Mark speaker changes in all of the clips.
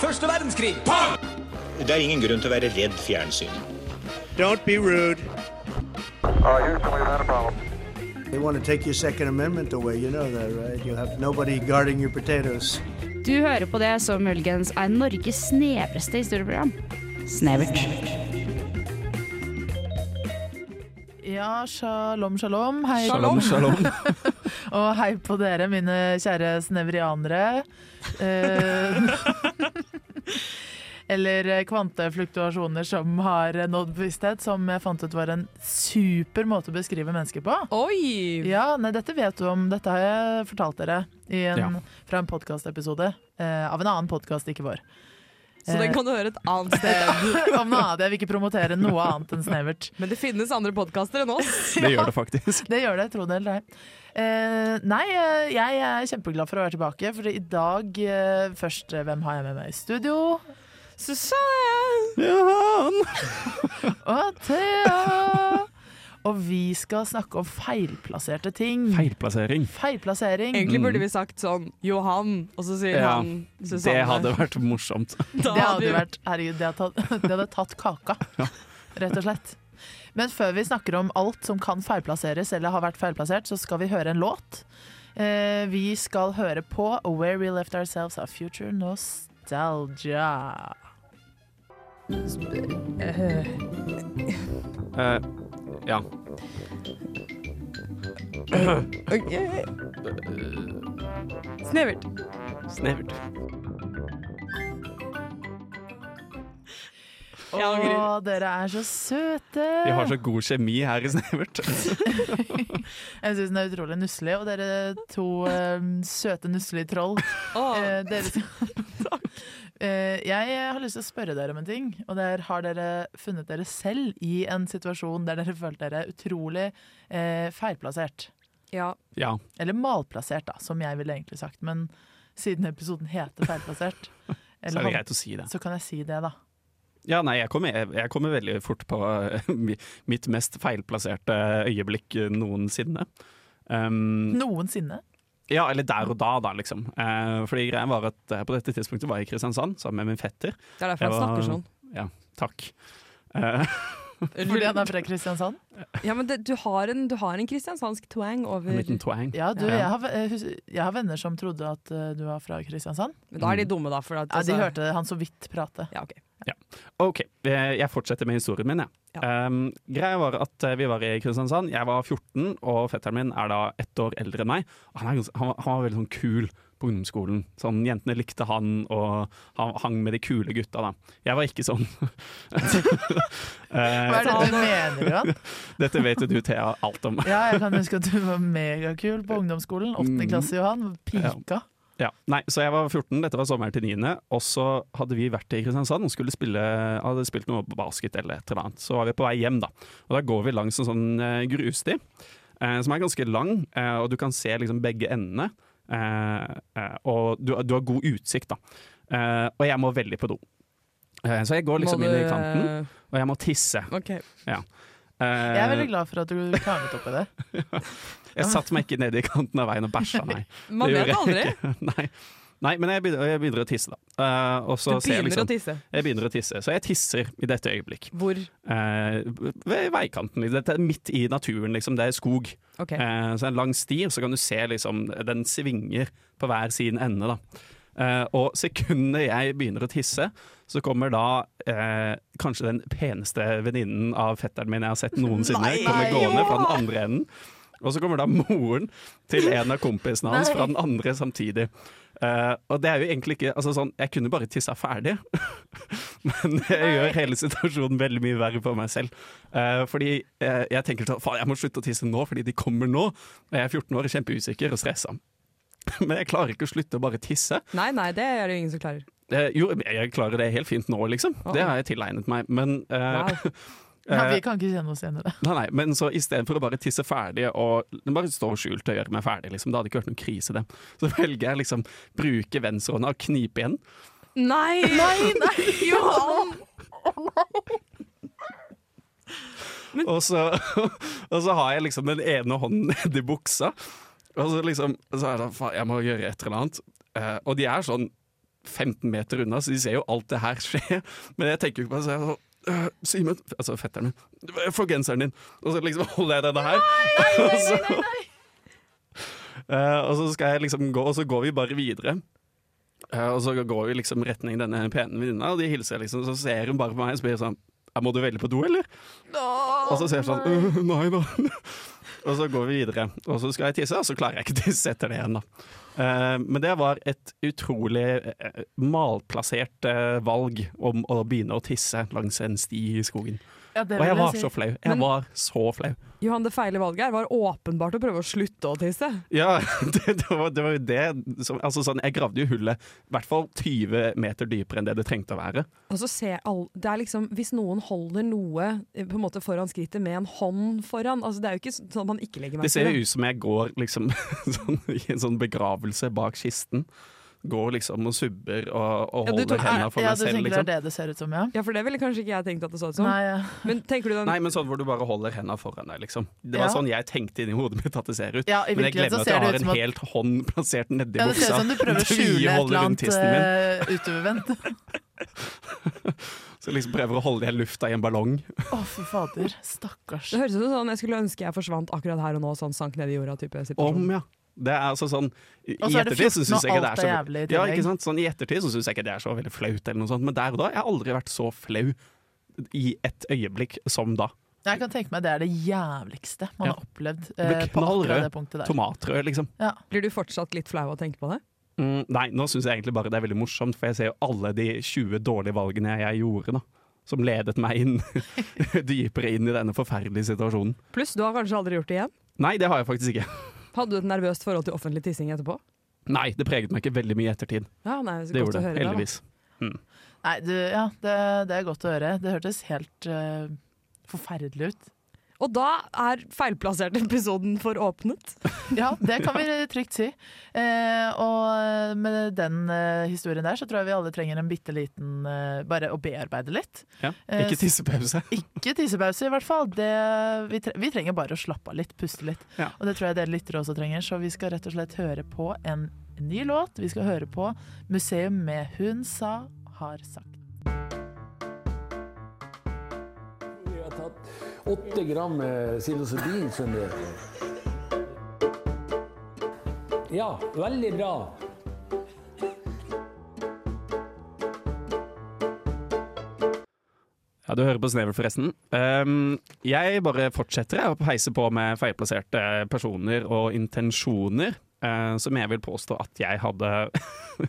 Speaker 1: Første verdenskrig.
Speaker 2: Det er ingen grunn til å være redd fjernsyn.
Speaker 3: Don't be rude.
Speaker 4: Uh, Houston, we've had a problem.
Speaker 5: They want to take your Second Amendment away. You know that, right? You'll have nobody guarding your potatoes.
Speaker 6: Du hører på det som muligens er Norges snevreste historieprogram. Snevert.
Speaker 7: Ja, shalom, shalom. Hei.
Speaker 8: Shalom, shalom.
Speaker 7: Og hei på dere, mine kjære snevrianere. Eh, eller kvantefluktuasjoner som har nådd bevissthet, som jeg fant ut var en super måte å beskrive mennesker på.
Speaker 8: Oi!
Speaker 7: Ja, nei, dette vet du om. Dette har jeg fortalt dere i en,
Speaker 8: Ja.
Speaker 7: fra en podkastepisode eh, av en annen podkast, ikke vår.
Speaker 8: Så den kan du høre et annet sted.
Speaker 7: om noe annet. Jeg vil ikke promotere noe annet enn snevert.
Speaker 8: Men det finnes andre podkaster enn oss.
Speaker 9: Det gjør det faktisk.
Speaker 7: Det gjør det, tro det eller ei. Eh, nei, eh, jeg er kjempeglad for å være tilbake, for i dag eh, først eh, Hvem har jeg med meg i studio?
Speaker 8: Susanne!
Speaker 7: Og Thea! Og vi skal snakke om feilplasserte ting.
Speaker 9: Feilplassering.
Speaker 7: Feilplassering.
Speaker 8: Egentlig burde vi sagt sånn Johan, og så sier
Speaker 9: Mm. Ja,
Speaker 8: han Susanne.
Speaker 9: Det hadde vært morsomt.
Speaker 8: Da
Speaker 7: Det hadde
Speaker 8: vi-
Speaker 7: jo vært Herregud, det hadde, tatt, det hadde tatt kaka. Rett og slett. Men før vi snakker om alt som kan feilplasseres, eller har vært feilplassert, så skal vi høre en låt. Eh, vi skal høre på Where We Left Ourselves Our Future Nostalgia.
Speaker 9: Eh, ja.
Speaker 8: Snevert.
Speaker 9: Snevert.
Speaker 7: Å,
Speaker 8: Jeg angrer.
Speaker 7: dere er så søte!
Speaker 9: Vi har så god kjemi eh, her i Snevert.
Speaker 7: Jeg syns den er utrolig nusselig. Og dere to eh, søte, nusselige troll.
Speaker 8: Åh,
Speaker 7: Eh, dere Eh, jeg har lyst til å spørre dere om en ting. Og det er, har dere funnet dere selv i en situasjon der dere følte dere utrolig eh, feilplassert?
Speaker 8: ja.
Speaker 9: Ja.
Speaker 7: Eller malplassert, da, som jeg ville egentlig sagt. Men siden episoden heter 'Feilplassert',
Speaker 9: Så
Speaker 7: eller
Speaker 9: er det
Speaker 7: han-
Speaker 9: greit å si det.
Speaker 7: så kan jeg si det, da.
Speaker 9: Ja, nei, jeg kommer, jeg, jeg kommer veldig fort på eh, mi- mitt mest feilplasserte øyeblikk noensinne. Um,
Speaker 7: Noensinne.
Speaker 9: Ja, eller der og da, da, liksom. Eh, fordi greia var at eh, på dette tidspunktet var jeg i Kristiansand sammen med min fetter.
Speaker 8: Det er derfor han
Speaker 9: Jeg
Speaker 8: snakker
Speaker 9: var-
Speaker 8: sånn.
Speaker 9: Takk. Eh,
Speaker 7: Fordi han er fra Kristiansand?
Speaker 8: Ja, men det, du, har en, du har en kristiansandsk twang over
Speaker 9: en liten
Speaker 8: Men
Speaker 9: twang.
Speaker 7: Ja, du,
Speaker 9: Ja.
Speaker 7: jeg har, eh, hus- jeg har venner som trodde at eh, du var fra Kristiansand.
Speaker 8: da er
Speaker 9: Mm.
Speaker 8: de dumme, da. For at,
Speaker 7: Ja, de
Speaker 8: altså-
Speaker 7: hørte han så vidt prate.
Speaker 8: Ja, ok.
Speaker 9: OK, eh, jeg fortsetter med historien min, jeg. Um, greia var at eh, vi var i Kristiansand. Jeg var 14, og fetteren min er da ett år eldre enn meg. Og Han, er, gans- han, var- han var veldig sånn kul på ungdomsskolen. Sånn, Jentene likte han, og han hang med de kule gutta, da. Jeg var ikke sånn.
Speaker 7: Hva er
Speaker 9: Eh,
Speaker 7: det du mener, Johan?
Speaker 9: dette vet jo du, Thea, alt om.
Speaker 7: Ja, jeg kan huske at du var megakul på ungdomsskolen. Åttende klasse, Johan. Pika.
Speaker 9: Ja, nei, så jeg var 14, dette var sommeren til 9. Og så hadde vi vært i Kristiansand og skulle spille, hadde spilt noe basket eller et eller annet. Så var vi på vei hjem, da. Og da går vi langs en sånn eh, grusti, eh, som er ganske lang, eh, og du kan se liksom begge endene. Eh, eh, og du, du har god utsikt, da. Eh, og jeg må veldig på do. Eh, så jeg går liksom inn i kanten, og jeg må tisse.
Speaker 8: Ok.
Speaker 9: Eh,
Speaker 7: Jeg er veldig glad for at du klarnet opp i det.
Speaker 9: jeg satte meg ikke nede i kanten av veien og bæsja, nei.
Speaker 8: Man
Speaker 9: Det
Speaker 8: vet
Speaker 9: gjorde jeg
Speaker 8: aldri.
Speaker 9: ikke. Nei. nei, men jeg begynner, jeg begynner å tisse, da. Eh, og
Speaker 8: Du
Speaker 9: så ser jeg
Speaker 8: begynner
Speaker 9: liksom
Speaker 8: å tisse.
Speaker 9: Jeg begynner å tisse, så jeg tisser i dette øyeblikk.
Speaker 8: Hvor?
Speaker 9: Eh, ved veikanten. liksom. Dette er midt i naturen, liksom. Det er skog.
Speaker 8: Ok.
Speaker 9: Eh, så det er en lang sti, og så kan du se liksom Den svinger på hver sin ende, da. Eh, og sekundet jeg begynner å tisse, så kommer da eh, kanskje den peneste venninnen av fetteren min jeg har sett noensinne,
Speaker 8: Nei.
Speaker 9: kommer
Speaker 8: Nei.
Speaker 9: gående fra den andre enden. Og så kommer da moren til en av kompisene hans
Speaker 7: Nei.
Speaker 9: fra den andre samtidig. Eh, og det er jo egentlig ikke altså sånn, Jeg kunne bare tissa ferdig, men jeg gjør hele situasjonen veldig mye verre for meg selv. Eh, fordi eh, jeg tenker sånn Faen, jeg må slutte å tisse nå, fordi de kommer nå. Og jeg er 14 år, kjempeusikker og stressa. Men jeg klarer ikke å slutte å bare tisse.
Speaker 8: Nei, nei, det er det jo ingen som klarer.
Speaker 9: Eh, jo, jeg klarer det helt fint nå, liksom. Det har jeg tilegnet meg. Men eh,
Speaker 8: Wow.
Speaker 7: Ja, vi kan ikke kjenne oss igjen i det.
Speaker 9: Nei, nei, men så istedenfor å bare tisse ferdig og bare stå skjult og gjøre meg ferdig, liksom, det hadde ikke vært noen krise, det. Så velger jeg liksom bruke venstrehånda og knipe igjen.
Speaker 8: Nei! Nei, nei, Johan!
Speaker 9: Og så, og så har jeg liksom den ene hånden nedi buksa, og så liksom så er det sånn faen, jeg må gjøre et eller annet. Eh, og de er sånn 15 meter unna, så de ser jo alt det her skje. Men jeg tenker jo ikke på det. Så jeg er sånn «Øh, Simen, altså fetteren min, få genseren din! Og så liksom holder jeg denne her. og, så, Eh, og så skal jeg liksom gå, og så går vi bare videre. Eh, og så går vi liksom retning denne pene venninna, og de hilser liksom, så ser hun bare på meg og spør sånn «Ja, Må du veldig på do, eller? og så ser jeg sånn «Øh, Nei da. og så går vi videre. Og så skal jeg tisse, og så klarer jeg ikke å tisse etter det igjen, da. Eh, men det var et utrolig eh, malplassert eh, valg om å begynne å tisse langs en sti i skogen.
Speaker 7: Ja, det
Speaker 9: Og jeg
Speaker 7: vil
Speaker 9: var
Speaker 7: si.
Speaker 9: så flau.
Speaker 8: Men-
Speaker 9: Jeg var så flau.
Speaker 8: Johan, det feile valget her var åpenbart å prøve å slutte å tisse.
Speaker 9: Ja, det, det, var, det var jo det som altså sånn, Jeg gravde jo hullet i hvert fall 20 meter dypere enn det det trengte å være.
Speaker 8: Og så ser alle, det er liksom, Hvis noen holder noe eh, på en måte foran skrittet med en hånd foran altså Det er jo ikke sånn at man ikke legger
Speaker 9: Det
Speaker 8: merke til
Speaker 9: ser jo
Speaker 8: det.
Speaker 9: ut som jeg går liksom sånn, i en sånn begravelse bak kisten. Går liksom og subber og, og
Speaker 8: Ja, du
Speaker 9: holder
Speaker 8: tok-
Speaker 9: hendene for
Speaker 7: ja,
Speaker 9: meg
Speaker 7: du
Speaker 9: selv,
Speaker 7: tenker
Speaker 9: liksom.
Speaker 7: det er det det ser ut som, ja?
Speaker 8: Ja, for det ville kanskje ikke jeg tenkt at det så ut som.
Speaker 7: Nei, ja.
Speaker 8: Men tenker du den
Speaker 9: Nei, men sånn hvor du bare holder hendene foran deg, liksom. Det var
Speaker 7: Ja.
Speaker 9: sånn jeg tenkte inni hodet mitt at det ser ut.
Speaker 7: Ja, i
Speaker 9: men jeg
Speaker 7: virkeligheten så
Speaker 9: glemmer at jeg
Speaker 7: ser det
Speaker 9: har
Speaker 7: ut
Speaker 9: en
Speaker 7: som at
Speaker 9: helt hånd plassert nedi
Speaker 7: ja, Det ser ut
Speaker 9: buksa.
Speaker 7: som du prøver å
Speaker 9: Det
Speaker 7: skjule et
Speaker 9: holder
Speaker 7: eller
Speaker 9: rundt
Speaker 7: annet
Speaker 9: tissen min.
Speaker 7: eh, utovervendt.
Speaker 9: Så liksom prøver å holde igjen lufta i en ballong.
Speaker 7: Å, fy fader. Stakkars.
Speaker 8: Det høres ut som sånn jeg skulle ønske jeg forsvant akkurat her og nå, sånn sank ned i jorda type situasjon.
Speaker 9: Om, ja. Sånn. Det er altså sånn I
Speaker 7: Og
Speaker 9: i
Speaker 7: så er det
Speaker 9: ettertid så
Speaker 7: 14,
Speaker 9: syns jeg ikke
Speaker 7: og
Speaker 9: det er
Speaker 7: alt
Speaker 9: så
Speaker 7: er jævlig i
Speaker 9: ja,
Speaker 7: tillegg.
Speaker 9: ikke sant? Sånn, I ettertid så syns jeg ikke det er så veldig flaut, eller noe sånt. Men der og da Jeg har aldri vært så flau i et øyeblikk som da.
Speaker 7: Jeg kan tenke meg det er det jævligste man
Speaker 9: Ja.
Speaker 7: har opplevd
Speaker 9: ble
Speaker 7: eh, på
Speaker 9: knallrød.
Speaker 7: akkurat det punktet der.
Speaker 9: Tomatrød, liksom.
Speaker 7: Ja.
Speaker 8: Blir du fortsatt litt flau av å tenke på det?
Speaker 9: Mm, nei, nå syns jeg egentlig bare det er veldig morsomt, for jeg ser jo alle de 20 dårlige valgene jeg gjorde, da. Som ledet meg inn dypere inn i denne forferdelige situasjonen.
Speaker 8: Pluss, du har kanskje aldri gjort det igjen?
Speaker 9: Nei, det har jeg faktisk ikke.
Speaker 8: Hadde du et nervøst forhold til offentlig tissing etterpå?
Speaker 9: Nei, det preget meg ikke veldig mye i ettertid.
Speaker 8: Ja, nei, så godt
Speaker 9: Det
Speaker 8: å
Speaker 9: gjorde det,
Speaker 8: høre da.
Speaker 9: heldigvis.
Speaker 7: Nei, du, ja, det, det er godt å høre. Det hørtes helt eh, forferdelig ut.
Speaker 8: Og da er feilplassert episoden for åpnet.
Speaker 7: Ja, det kan vi trygt si. Eh, og med den eh, historien der så tror jeg vi alle trenger en bitte liten eh, Bare å bearbeide litt.
Speaker 9: Ja.
Speaker 7: Eh,
Speaker 9: Ikke tissepause.
Speaker 7: Ikke tissepause, i hvert fall. Det, vi, tre vi trenger bare å slappe av litt, puste litt.
Speaker 9: Ja.
Speaker 7: Og det tror jeg dere lyttere også trenger, så vi skal rett og slett høre på en ny låt. Vi skal høre på 'Museum med hun sa, har sagt'.
Speaker 1: Jeg har tatt åtte gram eh, psilocybin, skjønner du. Ja, veldig bra.
Speaker 9: Ja, du hører på Snevel, forresten. Ehm, jeg bare fortsetter jeg, å heise på med feilplasserte personer og intensjoner, eh, som jeg vil påstå at jeg hadde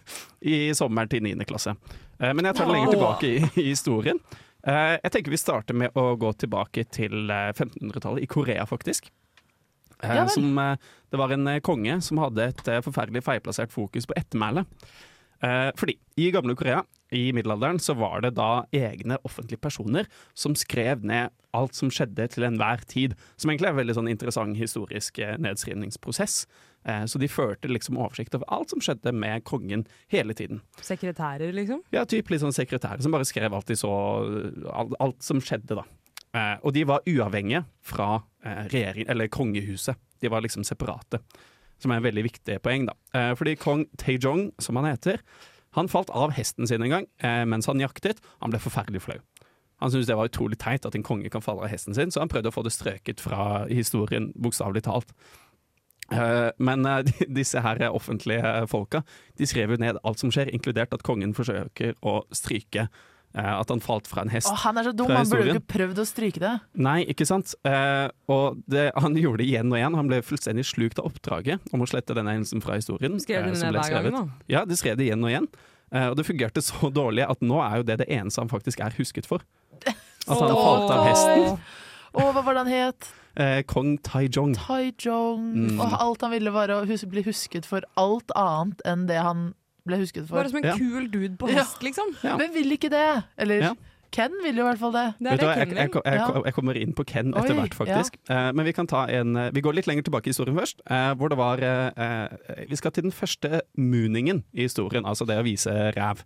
Speaker 9: i sommeren til 9. klasse. Eh, men jeg tar det lenger tilbake i, i historien. Eh, jeg tenker vi starter med å gå tilbake til eh, 1500-tallet, i Korea faktisk. Eh,
Speaker 7: Ja vel.
Speaker 9: som, eh, det var en eh, konge som hadde et eh, forferdelig feilplassert fokus på ettermælet. Eh, fordi i gamle Korea, i middelalderen, så var det da egne offentlige personer som skrev ned alt som skjedde til enhver tid. Som egentlig er en veldig sånn interessant historisk eh, nedskrivningsprosess. Eh, så de førte liksom oversikt over alt som skjedde med kongen hele tiden.
Speaker 8: Sekretærer, liksom.
Speaker 9: Ja, typ litt sånn sekretærer som bare skrev alt de så eh, Alt, alt som skjedde, da. Eh, og de var uavhengige fra eh, regjering, eller kongehuset. De var liksom separate. Som er en veldig viktig poeng, da. Eh, fordi kong Taejong, som han heter, han falt av hesten sin en gang eh, mens han jaktet. Han ble forferdelig flau. Han syntes det var utrolig teit at en konge kan falle av hesten sin, så han prøvde å få det strøket fra historien, bokstavelig talt. Eh, Men eh, de- disse her offentlige folka De skrev jo ned alt som skjer, inkludert at kongen forsøker å stryke eh, at han falt fra en hest.
Speaker 7: Å, han er så dum,
Speaker 9: Fra
Speaker 7: han burde jo
Speaker 9: historien.
Speaker 7: ikke prøvd å stryke det.
Speaker 9: Nei, ikke sant? Eh, og det, han gjorde det igjen og igjen. Han ble fullstendig slukt av oppdraget om å slette denne hendelsen fra historien.
Speaker 8: Skrev
Speaker 9: eh,
Speaker 8: de
Speaker 9: som
Speaker 8: ned
Speaker 9: ble
Speaker 8: hver gang,
Speaker 9: skrevet.
Speaker 8: da?
Speaker 9: Ja, de skrev det igjen og igjen. Eh, Og det fungerte så dårlig at nå er jo det det eneste han faktisk er husket for. At han falt av hesten.
Speaker 7: Å, hva var det han het?
Speaker 9: Eh, Kong Taijong.
Speaker 7: Taijong.
Speaker 9: Mm.
Speaker 7: Og alt han ville var å hus bli husket for alt annet enn det han ble husket for.
Speaker 8: Bare som en
Speaker 9: Ja.
Speaker 8: kul dude på
Speaker 7: Ja.
Speaker 8: hest, liksom.
Speaker 9: Ja.
Speaker 7: Hvem vil ikke det? Eller
Speaker 9: Ja.
Speaker 7: Ken vil jo i hvert fall det.
Speaker 8: Det
Speaker 9: Vet
Speaker 8: er
Speaker 9: du
Speaker 8: det
Speaker 9: hva, jeg,
Speaker 8: Ken
Speaker 9: jeg,
Speaker 8: vil.
Speaker 9: jeg,
Speaker 7: Ja.
Speaker 9: jeg, kommer inn på Ken etter
Speaker 7: Oi,
Speaker 9: hvert, faktisk. Eh, men vi, kan ta en, eh, vi går litt lenger tilbake i historien først. eh, hvor det var eh, eh, Vi skal til den første mooningen i historien, altså det å vise ræv.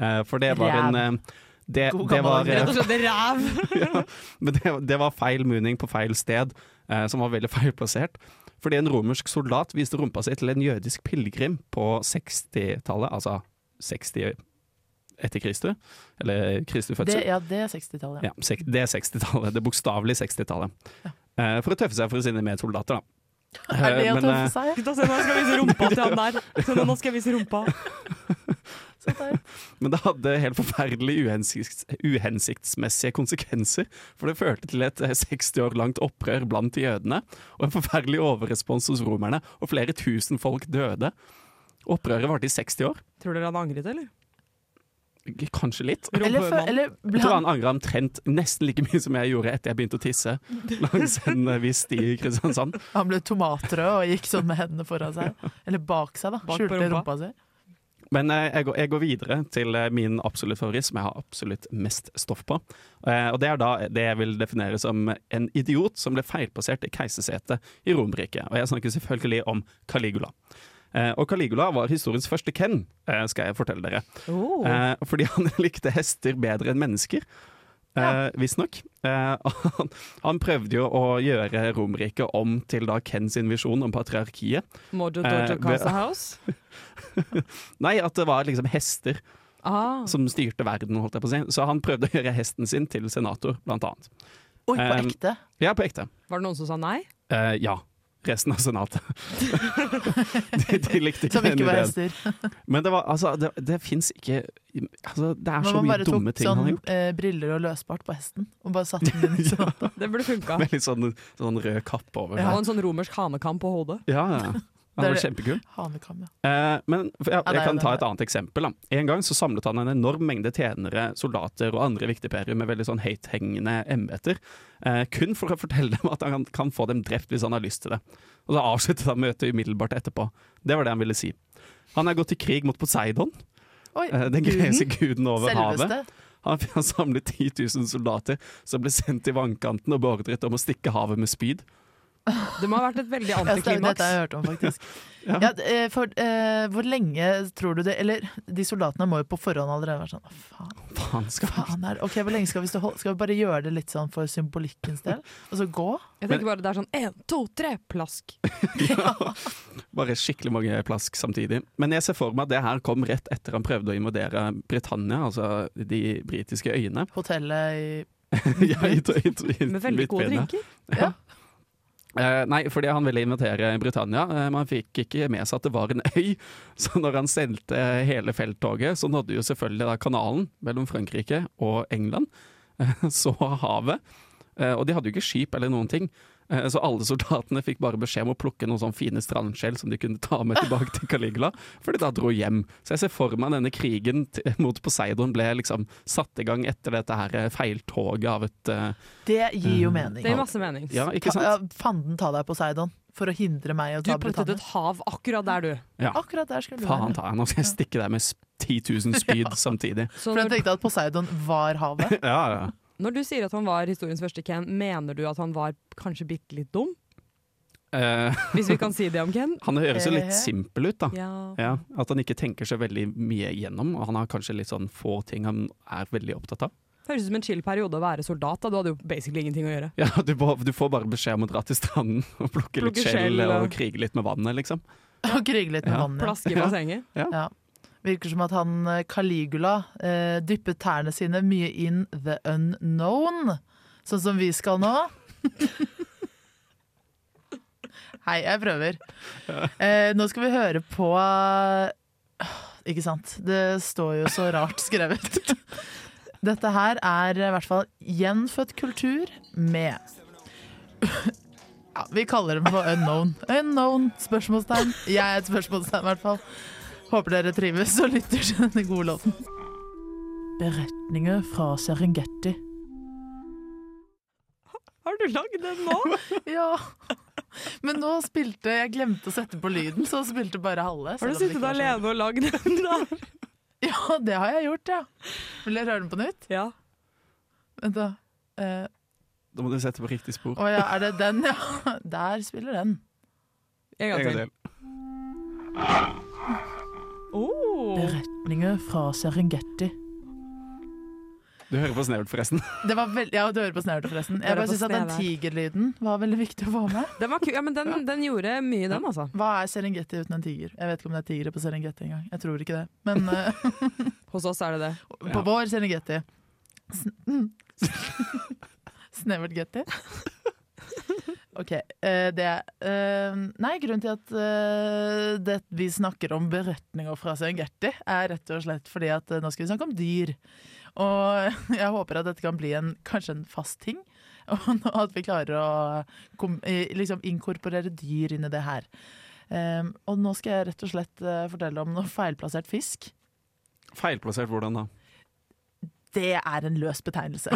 Speaker 9: Eh, for det var
Speaker 7: Ræv.
Speaker 9: en eh, det,
Speaker 7: God
Speaker 9: det
Speaker 7: gammel altså.
Speaker 9: var, eh,
Speaker 8: Rett og slett ræv!
Speaker 9: ja, men det, det var feil mooning på feil sted, eh, som var veldig feilplassert. Fordi en romersk soldat viste rumpa si til en jødisk pilegrim på 60-tallet, altså 60 etter Kristus, eller Kristi
Speaker 7: Det,
Speaker 9: fødsel.
Speaker 7: ja, det er 60-tallet. Ja.
Speaker 9: Ja, sek- det er 60-tallet. Det bokstavelige 60-tallet. Eh, For å tøffe seg for sine medsoldater, da.
Speaker 7: Er det
Speaker 9: Eh,
Speaker 7: å
Speaker 9: men,
Speaker 7: tøffe
Speaker 9: eh,
Speaker 7: seg?
Speaker 10: Gutta, se, nå skal jeg vise rumpa til han der. Se, nå skal jeg vise rumpa.
Speaker 7: Så der.
Speaker 9: Men det hadde helt forferdelig uhensikts, uhensiktsmessige konsekvenser. For det førte til et eh, 60 år langt opprør blant jødene, og en forferdelig overrespons hos romerne, og flere tusen folk døde. Opprøret varte i 60 år.
Speaker 10: Tror dere han angret, eller?
Speaker 9: K- Kanskje litt.
Speaker 7: Eller, fø-
Speaker 10: Rumpehømann.
Speaker 7: eller ble
Speaker 9: Jeg tror
Speaker 7: han
Speaker 9: han angra omtrent nesten like mye som jeg gjorde etter jeg begynte å tisse langs en eh, viss sti i Kristiansand.
Speaker 7: Han ble tomatrød og gikk sånn med hendene foran seg. Eller bak seg, da.
Speaker 10: Bak på
Speaker 7: Skjulte rumpa.
Speaker 10: rumpa.
Speaker 7: si.
Speaker 9: Men eh, jeg går, jeg går videre til eh, min absolutt favoritt, som jeg har absolutt mest stoff på. Eh, og Det er da det jeg vil definere som en idiot som ble feilplassert i keisersetet i Romerriket. Og jeg snakker selvfølgelig om Caligula. Eh, og Caligula var historiens første Ken, eh, skal jeg fortelle dere.
Speaker 10: Oh.
Speaker 9: Eh, fordi han likte hester bedre enn mennesker. Eh, Visstnok. Eh, og han, han prøvde jo å gjøre Romerriket om til da Ken sin visjon om patriarkiet.
Speaker 10: Mojo
Speaker 9: eh,
Speaker 10: Dojo
Speaker 9: be-
Speaker 10: Casa House.
Speaker 9: Nei, at det var liksom hester
Speaker 10: Ah.
Speaker 9: som styrte verden, holdt jeg på å si. Så han prøvde å gjøre hesten sin til senator, blant annet.
Speaker 7: Oi, på
Speaker 9: Um,
Speaker 7: ekte.
Speaker 9: Ja, på ekte.
Speaker 10: Var det noen som sa nei?
Speaker 9: Eh, ja. Resten av senatet. de, de likte ikke
Speaker 7: Som
Speaker 9: den
Speaker 7: ikke var
Speaker 9: ideen.
Speaker 7: hester.
Speaker 9: Men det, var, altså, det, det fins ikke altså, Det er
Speaker 7: Men
Speaker 9: så
Speaker 7: man
Speaker 9: mye
Speaker 7: bare
Speaker 9: dumme
Speaker 7: tok
Speaker 9: ting han
Speaker 7: sånn
Speaker 9: har gjort.
Speaker 7: eh, briller og løsbart på hesten og bare satte den inn i sånn.
Speaker 10: Det burde funka.
Speaker 9: Med litt sånn, sånn rød kappe over.
Speaker 10: Og
Speaker 9: seg.
Speaker 10: en sånn romersk hanekam på hodet.
Speaker 9: Ja, ja. Han
Speaker 7: Det er
Speaker 9: var
Speaker 7: det-
Speaker 9: kjempekul.
Speaker 7: hanekam. Ja.
Speaker 9: Eh, men for- ja,
Speaker 7: Ja,
Speaker 9: jeg
Speaker 7: nei,
Speaker 9: kan
Speaker 7: det-
Speaker 9: ta et annet eksempel. Da. En gang så samlet han en enorm mengde tjenere, soldater og andre viktigperer med veldig sånn høythengende embeter, eh, kun for å fortelle dem at han kan få dem drept hvis han har lyst til det. Og så avsluttet han møtet umiddelbart etterpå. Det var det han ville si. Han er gått til krig mot Poseidon,
Speaker 7: Oi,
Speaker 9: eh, den
Speaker 7: guden.
Speaker 9: greske guden over havet.
Speaker 7: Selveste.
Speaker 9: Han han samlet 10 000 soldater som ble sendt til vannkanten og beordret om å stikke havet med spyd.
Speaker 10: Det må ha vært et veldig
Speaker 7: Ja, stemmer, dette
Speaker 10: antiklimaks.
Speaker 7: har jeg hørt om, faktisk. ja. d- eh, for, eh, hvor lenge tror du det Eller de soldatene må jo på forhånd allerede være sånn «Å, Faen,
Speaker 9: Faen skal
Speaker 7: faen er det?» Ok, hvor lenge skal vi stå hold- Skal vi bare gjøre det litt sånn for symbolikkens del? Og så gå?
Speaker 10: Jeg tenker bare det er sånn én, to, tre, plask.
Speaker 9: Bare skikkelig mange plask samtidig. Men jeg ser for meg at det her kom rett etter han prøvde å invadere Britannia, altså de britiske øyene.
Speaker 7: Hotellet i
Speaker 9: Ja, i- i- i-
Speaker 10: Med veldig gode
Speaker 9: Britannia.
Speaker 10: drinker.
Speaker 7: Ja.
Speaker 9: Eh, nei, fordi han ville invitere Britannia, eh, men han fikk ikke med seg at det var en øy. Så når han sendte hele felttoget, så nådde jo selvfølgelig da kanalen mellom Frankrike og England. Eh, så havet. Eh, og de hadde jo ikke skip eller noen ting. Eh, så alle soldatene fikk bare beskjed om å plukke noen sånne fine strandskjell som de kunne ta med tilbake til Caligula, for de da dro hjem. Så jeg ser for meg denne krigen t mot Poseidon ble liksom satt i gang etter dette her eh, feiltoget av et eh,
Speaker 7: Det gir jo mening.
Speaker 10: Det gir masse mening.
Speaker 9: Ja, ikke
Speaker 7: Ta,
Speaker 9: sant?
Speaker 7: ja, fanden ta deg, Poseidon, for å hindre meg i å
Speaker 10: Du
Speaker 7: ta
Speaker 10: puttet
Speaker 7: Britannia.
Speaker 10: et hav akkurat der, du.
Speaker 7: Akkurat der skulle du
Speaker 9: Faen
Speaker 7: være.
Speaker 9: ta, nå skal jeg stikke deg med s- 10 000 spyd samtidig.
Speaker 10: Så
Speaker 7: For jeg
Speaker 10: Sånn når,
Speaker 7: tenkte at Poseidon var havet.
Speaker 9: Ja, ja.
Speaker 10: når du sier at han var historiens første Ken, mener du at han var kanskje bitte litt dum?
Speaker 9: Eh,
Speaker 10: Hvis vi kan si det om Ken?
Speaker 9: han høres jo
Speaker 7: Eh.
Speaker 9: litt simpel ut, da.
Speaker 10: Ja.
Speaker 9: Ja, at han ikke tenker seg veldig mye igjennom, og han har kanskje litt sånn få ting han er veldig opptatt av.
Speaker 10: Høres ut som en chill periode å være soldat. Da. Du hadde jo basically ingenting å gjøre.
Speaker 9: Ja, du, må- du får bare beskjed om å dra til stranden og plukke litt
Speaker 10: Plukke
Speaker 9: skjell
Speaker 10: skjell,
Speaker 9: og
Speaker 10: ja.
Speaker 9: krige litt med vannet, liksom.
Speaker 7: Og krige litt med
Speaker 9: Ja.
Speaker 7: vannet.
Speaker 10: Plaske i bassenget.
Speaker 7: Ja. Virker som at han eh, Caligula eh, dyppet tærne sine mye inn the unknown, sånn som vi skal nå. Hei, jeg prøver. Eh, nå skal vi høre på eh, Ikke sant? Det står jo så rart skrevet. Dette her er i hvert fall gjenfødt kultur med ja, Vi kaller dem for unknown. Unknown! Spørsmålstegn. Jeg er et spørsmålstegn, i hvert fall. Håper dere trives og lytter til denne gode låten. Beretninger fra Serengeti.
Speaker 10: Har du lagd den nå?
Speaker 7: Ja. Men nå spilte Jeg glemte å sette på lyden, så spilte bare halve.
Speaker 10: Har
Speaker 7: selv om
Speaker 10: du
Speaker 7: det ikke
Speaker 10: sittet
Speaker 7: var så-
Speaker 10: alene og lagd den der?
Speaker 7: Ja, det har jeg gjort, ja. Vil dere høre den på nytt?
Speaker 10: Ja.
Speaker 7: Vent, da. Eh,
Speaker 9: Da må du sette på riktig spor.
Speaker 7: Å ja, er det den, ja? Der spiller den.
Speaker 10: En gang til. Oh.
Speaker 7: Beretninger fra Serengeti.
Speaker 9: Du hører på snevert, forresten.
Speaker 7: Det var veld... Ja, du hører på snevert, forresten. Jeg
Speaker 10: Hører
Speaker 7: bare
Speaker 10: på
Speaker 7: syns at den
Speaker 10: snevert.
Speaker 7: tigerlyden var veldig viktig å få med.
Speaker 10: Den var ku, ja, men den, den gjorde mye, den, altså.
Speaker 7: Hva er Serengeti uten en tiger? Jeg vet ikke om det er tigre på Serengeti engang. Jeg tror ikke det. Men eh,
Speaker 10: Hos oss er det det.
Speaker 7: på vår Serengeti Sn- mm. Snevert Getty. OK. eh, det eh, Nei, grunnen til at eh, det, vi snakker om beretninger fra Serengeti, er rett og slett fordi at eh, nå skal vi snakke om dyr. Og jeg håper at dette kan bli en, kanskje en fast ting. Og nå at vi klarer å kom, eh, liksom inkorporere dyr inn i det her. Eh, og nå skal jeg rett og slett eh, fortelle om noe feilplassert fisk.
Speaker 9: Feilplassert hvordan da?
Speaker 7: Det er en løs betegnelse.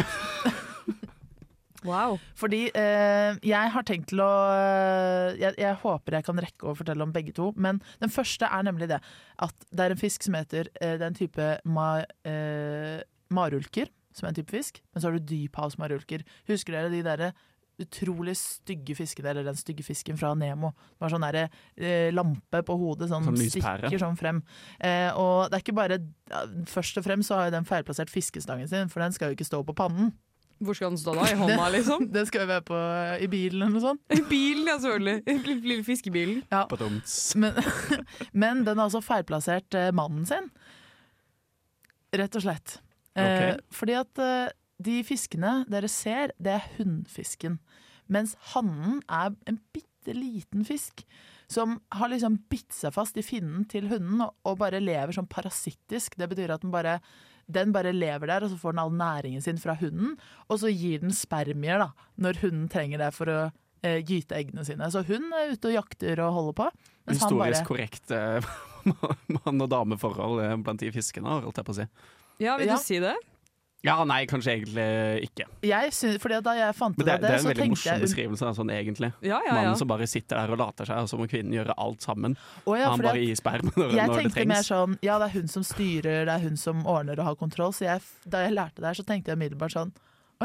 Speaker 10: Wow.
Speaker 7: Fordi eh, jeg har tenkt til å eh, jeg, jeg håper jeg kan rekke å fortelle om begge to. Men den første er nemlig det at det er en fisk som heter eh, Det er en type ma, eh, marulker, som er en type fisk. Men så har du dyphavsmarulker. Husker dere de derre utrolig stygge fiskene, eller den stygge fisken fra Nemo? Det var sånn derre eh, lampe på hodet, sånn
Speaker 9: Sånn lyspære.
Speaker 7: stikker sånn frem. Eh, og det er ikke bare eh, Først og fremst så har jo den feilplassert fiskestangen sin, for den skal jo ikke stå på pannen.
Speaker 10: Hvor skal den stå da? I hånda, liksom?
Speaker 7: Det skal jo være på, eh, i bilen eller noe sånt.
Speaker 10: I bilen, ja, selvfølgelig. Lille- Lille fiskebilen.
Speaker 9: Badums.
Speaker 7: Men, men den har altså feilplassert eh, mannen sin. Rett og slett. Eh,
Speaker 9: Ok.
Speaker 7: fordi at eh, de fiskene dere ser, det er hunnfisken. Mens hannen er en bitte liten fisk som har liksom bitt seg fast i finnen til hunden og, og bare lever sånn parasittisk. Det betyr at den bare, den bare lever der, og så får den all næringen sin fra hunden. Og så gir den spermier da, når hunden trenger det for å eh, gyte eggene sine. Så hun er ute og jakter og holder på. mens han bare-
Speaker 9: Historisk korrekt eh, mann- og dameforhold eh, blant de fiskene, holdt jeg på å si.
Speaker 10: Ja, vil
Speaker 7: Ja.
Speaker 10: du si det?
Speaker 9: Ja, nei, kanskje egentlig ikke.
Speaker 7: Jeg synes, fordi at da jeg fant
Speaker 9: Men
Speaker 7: ut
Speaker 9: det,
Speaker 7: av
Speaker 9: det
Speaker 7: det,
Speaker 9: er en
Speaker 7: så
Speaker 9: veldig
Speaker 7: tenkte
Speaker 9: morsom
Speaker 7: jeg
Speaker 9: beskrivelse, da, sånn egentlig.
Speaker 10: Ja, ja, ja.
Speaker 9: Mannen som bare sitter der og later seg, og så må kvinnen gjøre alt sammen.
Speaker 7: Å ja,
Speaker 9: han
Speaker 7: fordi at
Speaker 9: bare gir sperm når,
Speaker 7: jeg
Speaker 9: når det
Speaker 7: tenkte mer
Speaker 9: trengs.
Speaker 7: sånn Ja, det er hun som styrer, det er hun som ordner og har kontroll. Så jeg, da jeg lærte det her, så tenkte jeg umiddelbart sånn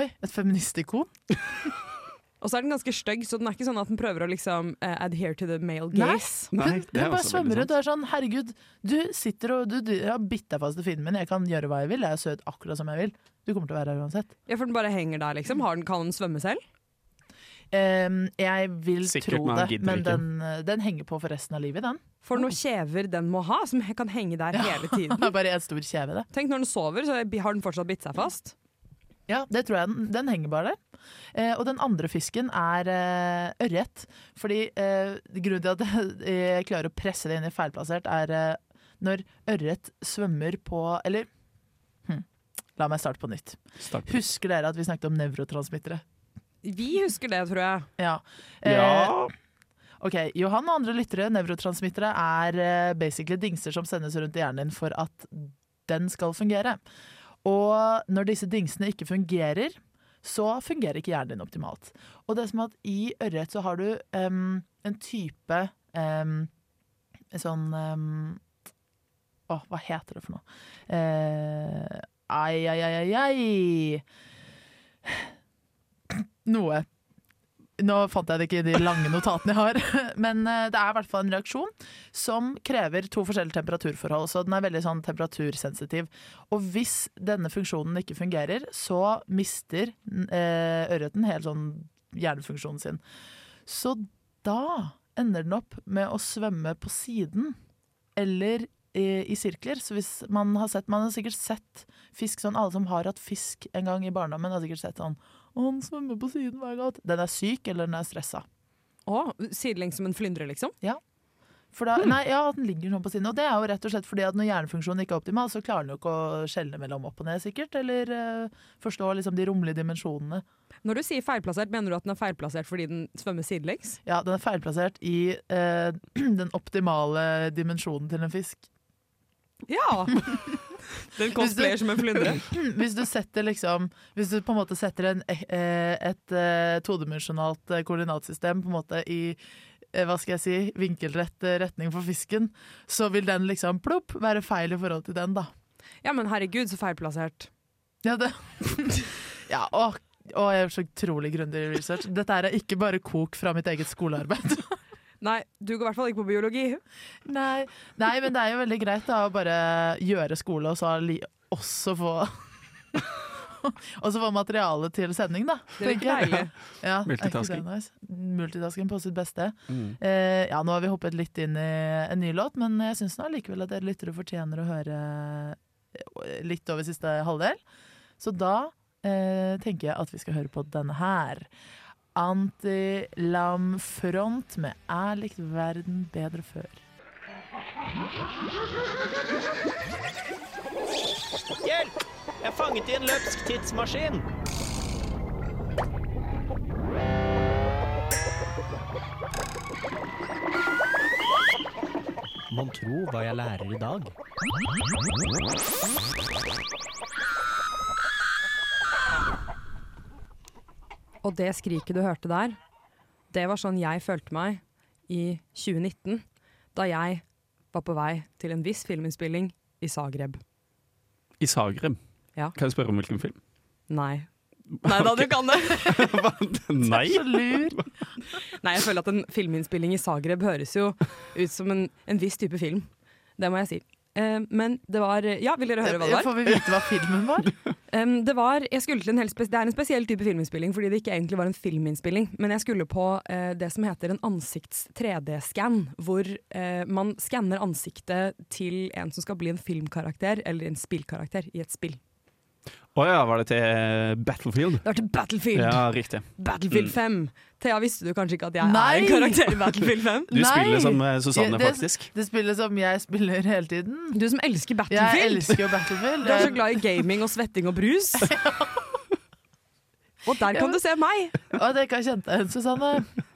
Speaker 7: Oi, et feministikon?
Speaker 10: Og så er den ganske stygg, så den er ikke sånn at den prøver å liksom eh, adhere to the male
Speaker 7: Nei.
Speaker 10: gaze.
Speaker 7: Hun,
Speaker 9: Nei,
Speaker 7: hun
Speaker 9: det er
Speaker 7: bare
Speaker 9: også veldig
Speaker 7: svømmer
Speaker 9: sant.
Speaker 7: ut og er sånn Herregud, du sitter og du, du jeg har bitt deg fast i finnen min, jeg kan gjøre hva jeg vil, jeg er søt akkurat som jeg vil. Du kommer til å være her uansett.
Speaker 10: Ja, for den bare henger der, liksom. Har den, kan den svømme selv?
Speaker 7: Ehm, jeg vil
Speaker 9: Sikkert,
Speaker 7: tro
Speaker 9: men han
Speaker 7: det,
Speaker 9: gidder
Speaker 7: men
Speaker 9: ikke.
Speaker 7: den, den henger på for resten av livet, den.
Speaker 10: For noen kjever den må ha, som he- kan henge der hele tiden.
Speaker 7: Det er bare en stor kjeve, det.
Speaker 10: Tenk når den sover, så har den fortsatt bitt seg fast.
Speaker 7: Ja, det tror jeg. Den, den henger bare der. Eh, og den andre fisken er eh, ørret. Fordi eh, grunnen til at jeg klarer å presse det inn i feilplassert, er eh, når ørret svømmer på Eller hm, la meg starte på nytt.
Speaker 9: Start.
Speaker 7: Husker dere at vi snakket om nevrotransmittere?
Speaker 10: Vi husker det, tror jeg.
Speaker 7: Ja. Eh,
Speaker 9: Ja,
Speaker 7: Ok, Johan og andre lyttere, nevrotransmittere, er eh, basically dingser som sendes rundt i hjernen din for at den skal fungere. Og når disse dingsene ikke fungerer, så fungerer ikke hjernen din optimalt. Og det er som at i ørret så har du em, en type em, en sånn em, Å, hva heter det for noe? Eh, ai, ai, ai, ai, ai. Noe. Nå fant jeg det ikke i de lange notatene jeg har, men eh, det er i hvert fall en reaksjon som krever to forskjellige temperaturforhold, så den er veldig sånn temperatursensitiv. Og hvis denne funksjonen ikke fungerer, så mister eh, ørreten hele sånn hjernefunksjonen sin. Så da ender den opp med å svømme på siden, eller i, i sirkler. Så hvis man har sett Man har sikkert sett fisk sånn Alle som har hatt fisk en gang i barndommen, har sikkert sett sånn og han svømmer på siden hver gang. Den er syk, eller den er stressa.
Speaker 10: Å, sidelengs som en flyndre, liksom.
Speaker 7: For da, nei, ja, den ligger sånn på siden. Og det er jo rett og slett fordi at når hjernefunksjonen ikke er optimal, så klarer den jo ikke å skjelne mellom opp og ned, sikkert. Eller eh, forstå liksom de rommelige dimensjonene.
Speaker 10: Når du sier feilplassert, mener du at den er feilplassert fordi den svømmer sidelengs?
Speaker 7: Ja, den er feilplassert i eh, den optimale dimensjonen til en fisk.
Speaker 10: Ja! den cosplayer som en flyndre.
Speaker 7: Hmm, Hvis du setter liksom Hvis du på en måte setter en, eh, et eh, todimensjonalt eh, koordinatsystem på en måte i eh, hva skal jeg si, vinkelrett eh, retning for fisken, så vil den liksom plopp være feil i forhold til den, da.
Speaker 10: Ja, men herregud, så feilplassert.
Speaker 7: Ja, det ja, å, å, jeg gjør så utrolig grundig research. Dette her er ikke bare kok fra mitt eget skolearbeid.
Speaker 10: Nei, du går i hvert fall ikke på biologi.
Speaker 7: Nei, Nei men det er jo veldig greit da, å bare gjøre skole og så li også få Og så får materialet til sending, da.
Speaker 10: Det virker
Speaker 7: tenker jeg.
Speaker 10: deilig.
Speaker 7: Ja, er ikke det
Speaker 9: Multitasking.
Speaker 7: nice? Multitasking på sitt beste.
Speaker 9: Mm.
Speaker 7: Eh, ja, nå har vi hoppet litt inn i en ny låt, men jeg syns allikevel at dere lyttere fortjener å høre eh, litt over siste halvdel. Så da eh, tenker jeg at vi skal høre på denne her. Antilamfront med 'Er likt verden bedre før'.
Speaker 3: Hjelp! Jeg er fanget i en løpsk tidsmaskin. Mon tro hva jeg lærer i dag?
Speaker 10: Og det skriket du hørte der, det var sånn jeg følte meg i 2019, da jeg var på vei til en viss filminnspilling i Zagreb.
Speaker 9: I Zagreb.
Speaker 10: Ja.
Speaker 9: Kan jeg spørre om hvilken film?
Speaker 10: Nei. Nei da, du kan det!
Speaker 9: Nei!
Speaker 7: Så lur!
Speaker 10: Nei, jeg føler at en filminnspilling i Zagreb høres jo ut som en, en viss type film. Det må jeg si. Eh, men det var Ja, vil dere høre hva det var?
Speaker 7: Får vi vite hva filmen var?
Speaker 10: Um, det, var, jeg skulle til en helt spe- det er en spesiell type filminnspilling, fordi det ikke egentlig var en filminnspilling. Men jeg skulle på eh, det som heter en ansikts-3D-skann, hvor eh, man skanner ansiktet til en som skal bli en filmkarakter, eller en spillkarakter, i et spill.
Speaker 9: Å ja, var det til eh, Battlefield?
Speaker 10: Det var til Battlefield!
Speaker 9: Ja, riktig.
Speaker 10: Battlefield 5! Thea, visste du kanskje ikke at jeg
Speaker 7: Nei!
Speaker 10: er en karakter i Battlefield 5?
Speaker 9: Du
Speaker 7: Nei!
Speaker 9: spiller som eh, Susanne,
Speaker 7: Det-
Speaker 9: faktisk.
Speaker 7: Det spillet som jeg spiller hele tiden.
Speaker 10: Du som elsker
Speaker 7: Jeg
Speaker 10: Battlefield!
Speaker 7: elsker jo Battlefield.
Speaker 10: Du er så glad i gaming og svetting og brus. Og der kan du se meg!
Speaker 7: Jeg- Å, det ikke jeg kjente igjen, Susanne.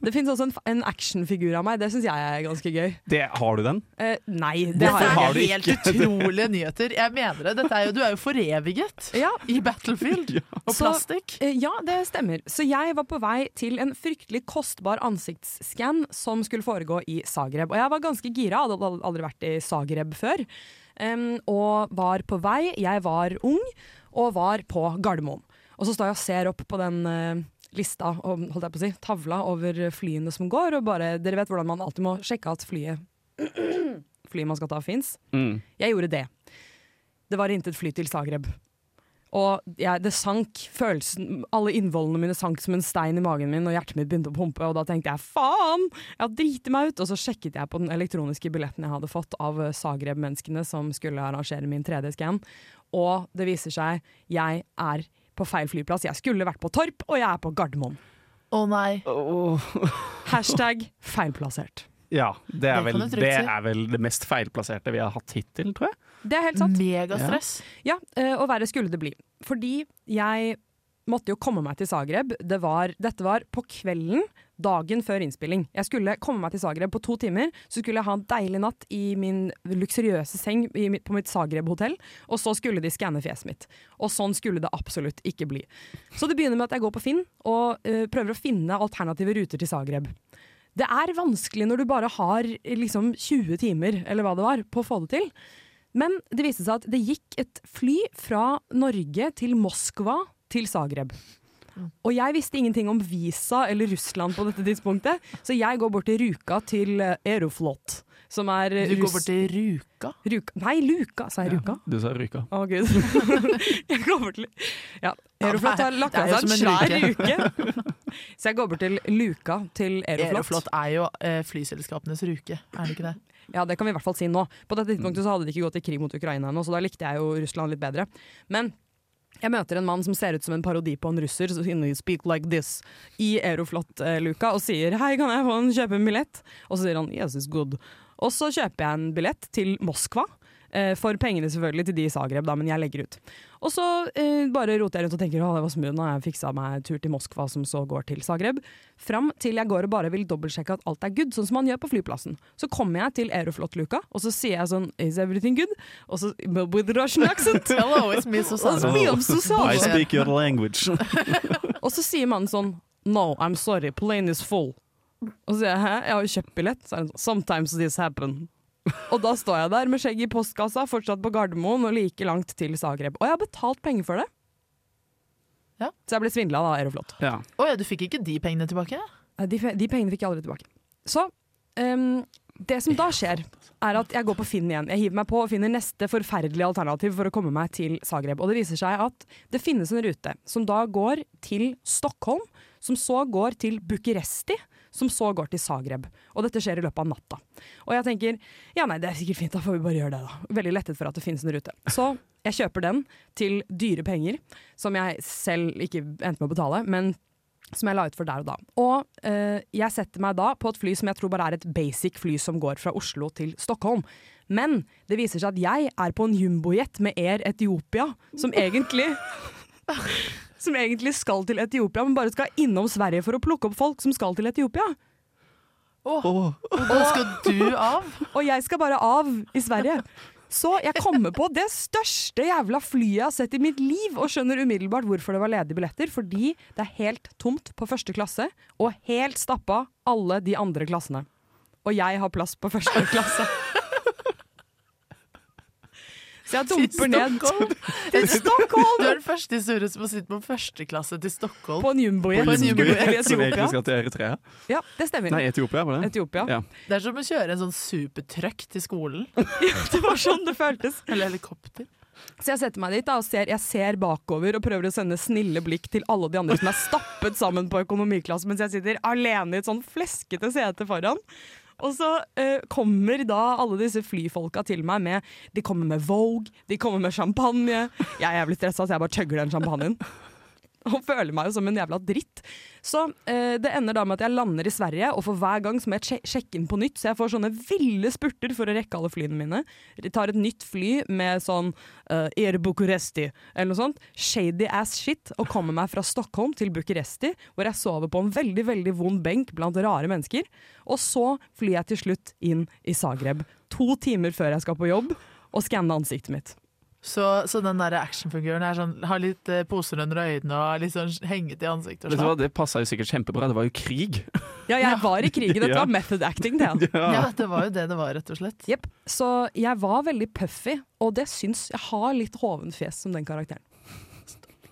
Speaker 10: Det fins også en, fa- en actionfigur av meg. Det syns jeg er ganske gøy.
Speaker 9: Det, har du den?
Speaker 10: Eh, nei, det
Speaker 7: Dette
Speaker 10: har jeg.
Speaker 9: har
Speaker 7: er
Speaker 9: du
Speaker 7: helt utrolige nyheter. Jeg mener det. Dette er jo, du er jo foreviget
Speaker 10: Ja,
Speaker 7: i Battlefield. Og
Speaker 10: Så-
Speaker 7: plastikk.
Speaker 10: eh, ja, det stemmer. Så jeg var på vei til en fryktelig kostbar ansiktsskann som skulle foregå i Zagreb. Og jeg var ganske gira, hadde al- aldri vært i Zagreb før. Em, og var på vei. Jeg var ung og var på Gardermoen. Og så står jeg og ser opp på den eh, lista, og, holdt jeg på å si, tavla over flyene som går, og bare Dere vet hvordan man alltid må sjekke at flyet Flyet man skal ta, fins. Jeg gjorde det. Det var intet fly til Zagreb. Og jeg, det sank følelsen Alle innvollene mine sank som en stein i magen min, og hjertet mitt begynte å pumpe, og da tenkte jeg faen! Jeg driter meg ut! Og så sjekket jeg på den elektroniske billetten jeg hadde fått av eh, Zagreb-menneskene som skulle arrangere min 3D-scan, og det viser seg jeg er på feil flyplass. Jeg skulle vært på Torp, og jeg er på Gardermoen.
Speaker 7: Å nei.
Speaker 10: Hashtag feilplassert.
Speaker 9: Ja, det
Speaker 7: Det
Speaker 9: er, vel,
Speaker 7: kan du trygt
Speaker 9: det
Speaker 7: si.
Speaker 9: er vel det mest feilplasserte vi har hatt hittil, tror jeg.
Speaker 10: Det er helt sant.
Speaker 7: Megastress.
Speaker 10: Ja, eh, og verre skulle det bli. Fordi jeg måtte jo komme meg til Zagreb. Det var, dette var på kvelden dagen før innspilling. Jeg skulle komme meg til Zagreb på to timer. Så skulle jeg ha en deilig natt i min luksuriøse seng i, mitt- på mitt Zagreb-hotell. Og så skulle de skanne fjeset mitt. Og sånn skulle det absolutt ikke bli. Så det begynner med at jeg går på Finn og eh, prøver å finne alternative ruter til Zagreb. Det er vanskelig når du bare har eh, liksom 20 timer, eller hva det var, på å få det til. Men det viste seg at det gikk et fly fra Norge til Moskva til Zagreb. Og jeg visste ingenting om visa eller Russland på dette tidspunktet, så jeg går bort til Ruka til eh, Aeroflot, som er eh,
Speaker 7: Du går
Speaker 10: russ-
Speaker 7: bort til Ruka.
Speaker 10: Ruka. Nei, Luka, sa jeg Ruka?
Speaker 9: Du sa Ryka.
Speaker 10: Å, gud. jeg går bort til ja, Aeroflot har lagt
Speaker 7: det er
Speaker 10: av
Speaker 7: jo
Speaker 10: seg en
Speaker 7: som
Speaker 10: svær
Speaker 7: en
Speaker 10: uke. Så jeg går bort til Luka til Aeroflot.
Speaker 7: Aeroflot er jo eh, flyselskapenes ruke, er det ikke det?
Speaker 10: Ja, det kan vi i hvert fall si nå. På dette
Speaker 7: Mm.
Speaker 10: tidspunktet så hadde det ikke gått til krig mot Ukraina ennå, så da likte jeg jo Russland litt bedre. Men jeg møter en mann som ser ut som en parodi på en russer, så sier han, speak like this, i Aeroflot-luka, og sier hei, kan jeg få en, kjøpe en billett? Og så sier han yes, it's good. Og så kjøper jeg en billett til Moskva. eh, For pengene selvfølgelig til de i Zagreb, da, men jeg legger ut. Og så eh, bare roter jeg rundt og tenker å, det var smooth, nå har jeg fiksa meg tur til Moskva, som så går til Zagreb. Fram til jeg går og bare vil dobbeltsjekke at alt er good, sånn som man gjør på flyplassen. Så kommer jeg til Aeroflot-luka, og så sier jeg sånn Is everything good? Og så with Russian accent!
Speaker 7: Hello, it's me,
Speaker 10: Og så
Speaker 7: Susanne.
Speaker 10: blir jeg så
Speaker 9: I
Speaker 10: sal.
Speaker 9: speak your language.
Speaker 10: Og så sier mannen sånn No, I'm sorry, plane is full. Og så sier jeg hæ, jeg har jo kjøpt billett. Så er han sånn Sometimes this happen. Og da står jeg der med skjegg i postkassa, fortsatt på Gardermoen og like langt til Zagreb. Og jeg har betalt penger for det.
Speaker 7: Ja.
Speaker 10: Så jeg ble svindla av Aeroflot.
Speaker 9: Ja.
Speaker 10: Eh,
Speaker 7: Å ja, du fikk ikke de pengene tilbake?
Speaker 10: De, de pengene fikk jeg aldri tilbake. Så ehm, Det som da skjer, er at jeg går på Finn igjen. Jeg hiver meg på og finner neste forferdelige alternativ for å komme meg til Zagreb. Og det viser seg at det finnes en rute som da går til Stockholm, som så går til Bucuresti, som så går til Zagreb. Og dette skjer i løpet av natta. Og jeg tenker ja nei, det er sikkert fint, da får vi bare gjøre det, da. Veldig lettet for at det finnes en rute. Så jeg kjøper den til dyre penger, som jeg selv ikke endte med å betale, men som jeg la ut for der og da. Og eh, jeg setter meg da på et fly som jeg tror bare er et basic fly som går fra Oslo til Stockholm. Men det viser seg at jeg er på en jumbojet med Air Etiopia, som egentlig Som egentlig skal til Etiopia, men bare skal innom Sverige for å plukke opp folk som skal til Etiopia.
Speaker 7: Og da skal du av?
Speaker 10: Og jeg skal bare av i Sverige. Så jeg kommer på det største jævla flyet jeg har sett i mitt liv, og skjønner umiddelbart hvorfor det var ledige billetter. Fordi det er helt tomt på første klasse, og helt stappa alle de andre klassene. Og jeg har plass på første klasse. Så jeg dumper ned til
Speaker 7: Du er
Speaker 10: Stockholm
Speaker 7: den første i Sure som har sittet på førsteklasse til Stockholm.
Speaker 10: på en jumbojet som skulle til
Speaker 9: Som egentlig
Speaker 10: Etiopia.
Speaker 9: skal til Eritrea.
Speaker 10: Ja, det stemmer.
Speaker 9: Nei, Etiopia var det.
Speaker 10: Etiopia.
Speaker 9: Ja.
Speaker 7: Det er som å kjøre en sånn supertruck til skolen.
Speaker 10: Det var sånn det føltes.
Speaker 7: Eller helikopter.
Speaker 10: Så jeg setter meg dit da, og ser, jeg ser bakover og prøver å sende snille blikk til alle de andre som er stappet sammen på økonomiklasse, mens jeg sitter alene i et sånn fleskete sete foran. Og så eh, kommer da alle disse flyfolka til meg med De kommer med Vogue, de kommer med champagne. Jeg er jævlig stressa, så jeg bare chugger den champagnen. Og føler meg jo som en jævla dritt. Så eh, det ender da med at jeg lander i Sverige, og for hver gang så må jeg sje- sjekke inn på nytt, så jeg får sånne ville spurter for å rekke alle flyene mine. Jeg tar et nytt fly med sånn uh, Air Bucuresti eller noe sånt. Shady ass shit. Og kommer meg fra Stockholm til Bucuresti, hvor jeg sover på en veldig veldig vond benk blant rare mennesker. Og så flyr jeg til slutt inn i Zagreb. To timer før jeg skal på jobb, og skanne ansiktet mitt.
Speaker 7: Så, så den der actionfiguren er sånn, har litt eh, poser under øynene og er litt sånn henget i ansiktet. Og
Speaker 9: Vet du hva,
Speaker 7: sånn.
Speaker 9: Det passa jo sikkert kjempebra. Det var jo krig.
Speaker 10: Ja, jeg var i krigen. Dette
Speaker 9: Ja.
Speaker 10: var method acting, det. ja.
Speaker 7: Ja, det var jo det det var, rett og slett.
Speaker 10: Jepp. Så jeg var veldig puffy, og det syns jeg har litt hoven fjes som den karakteren.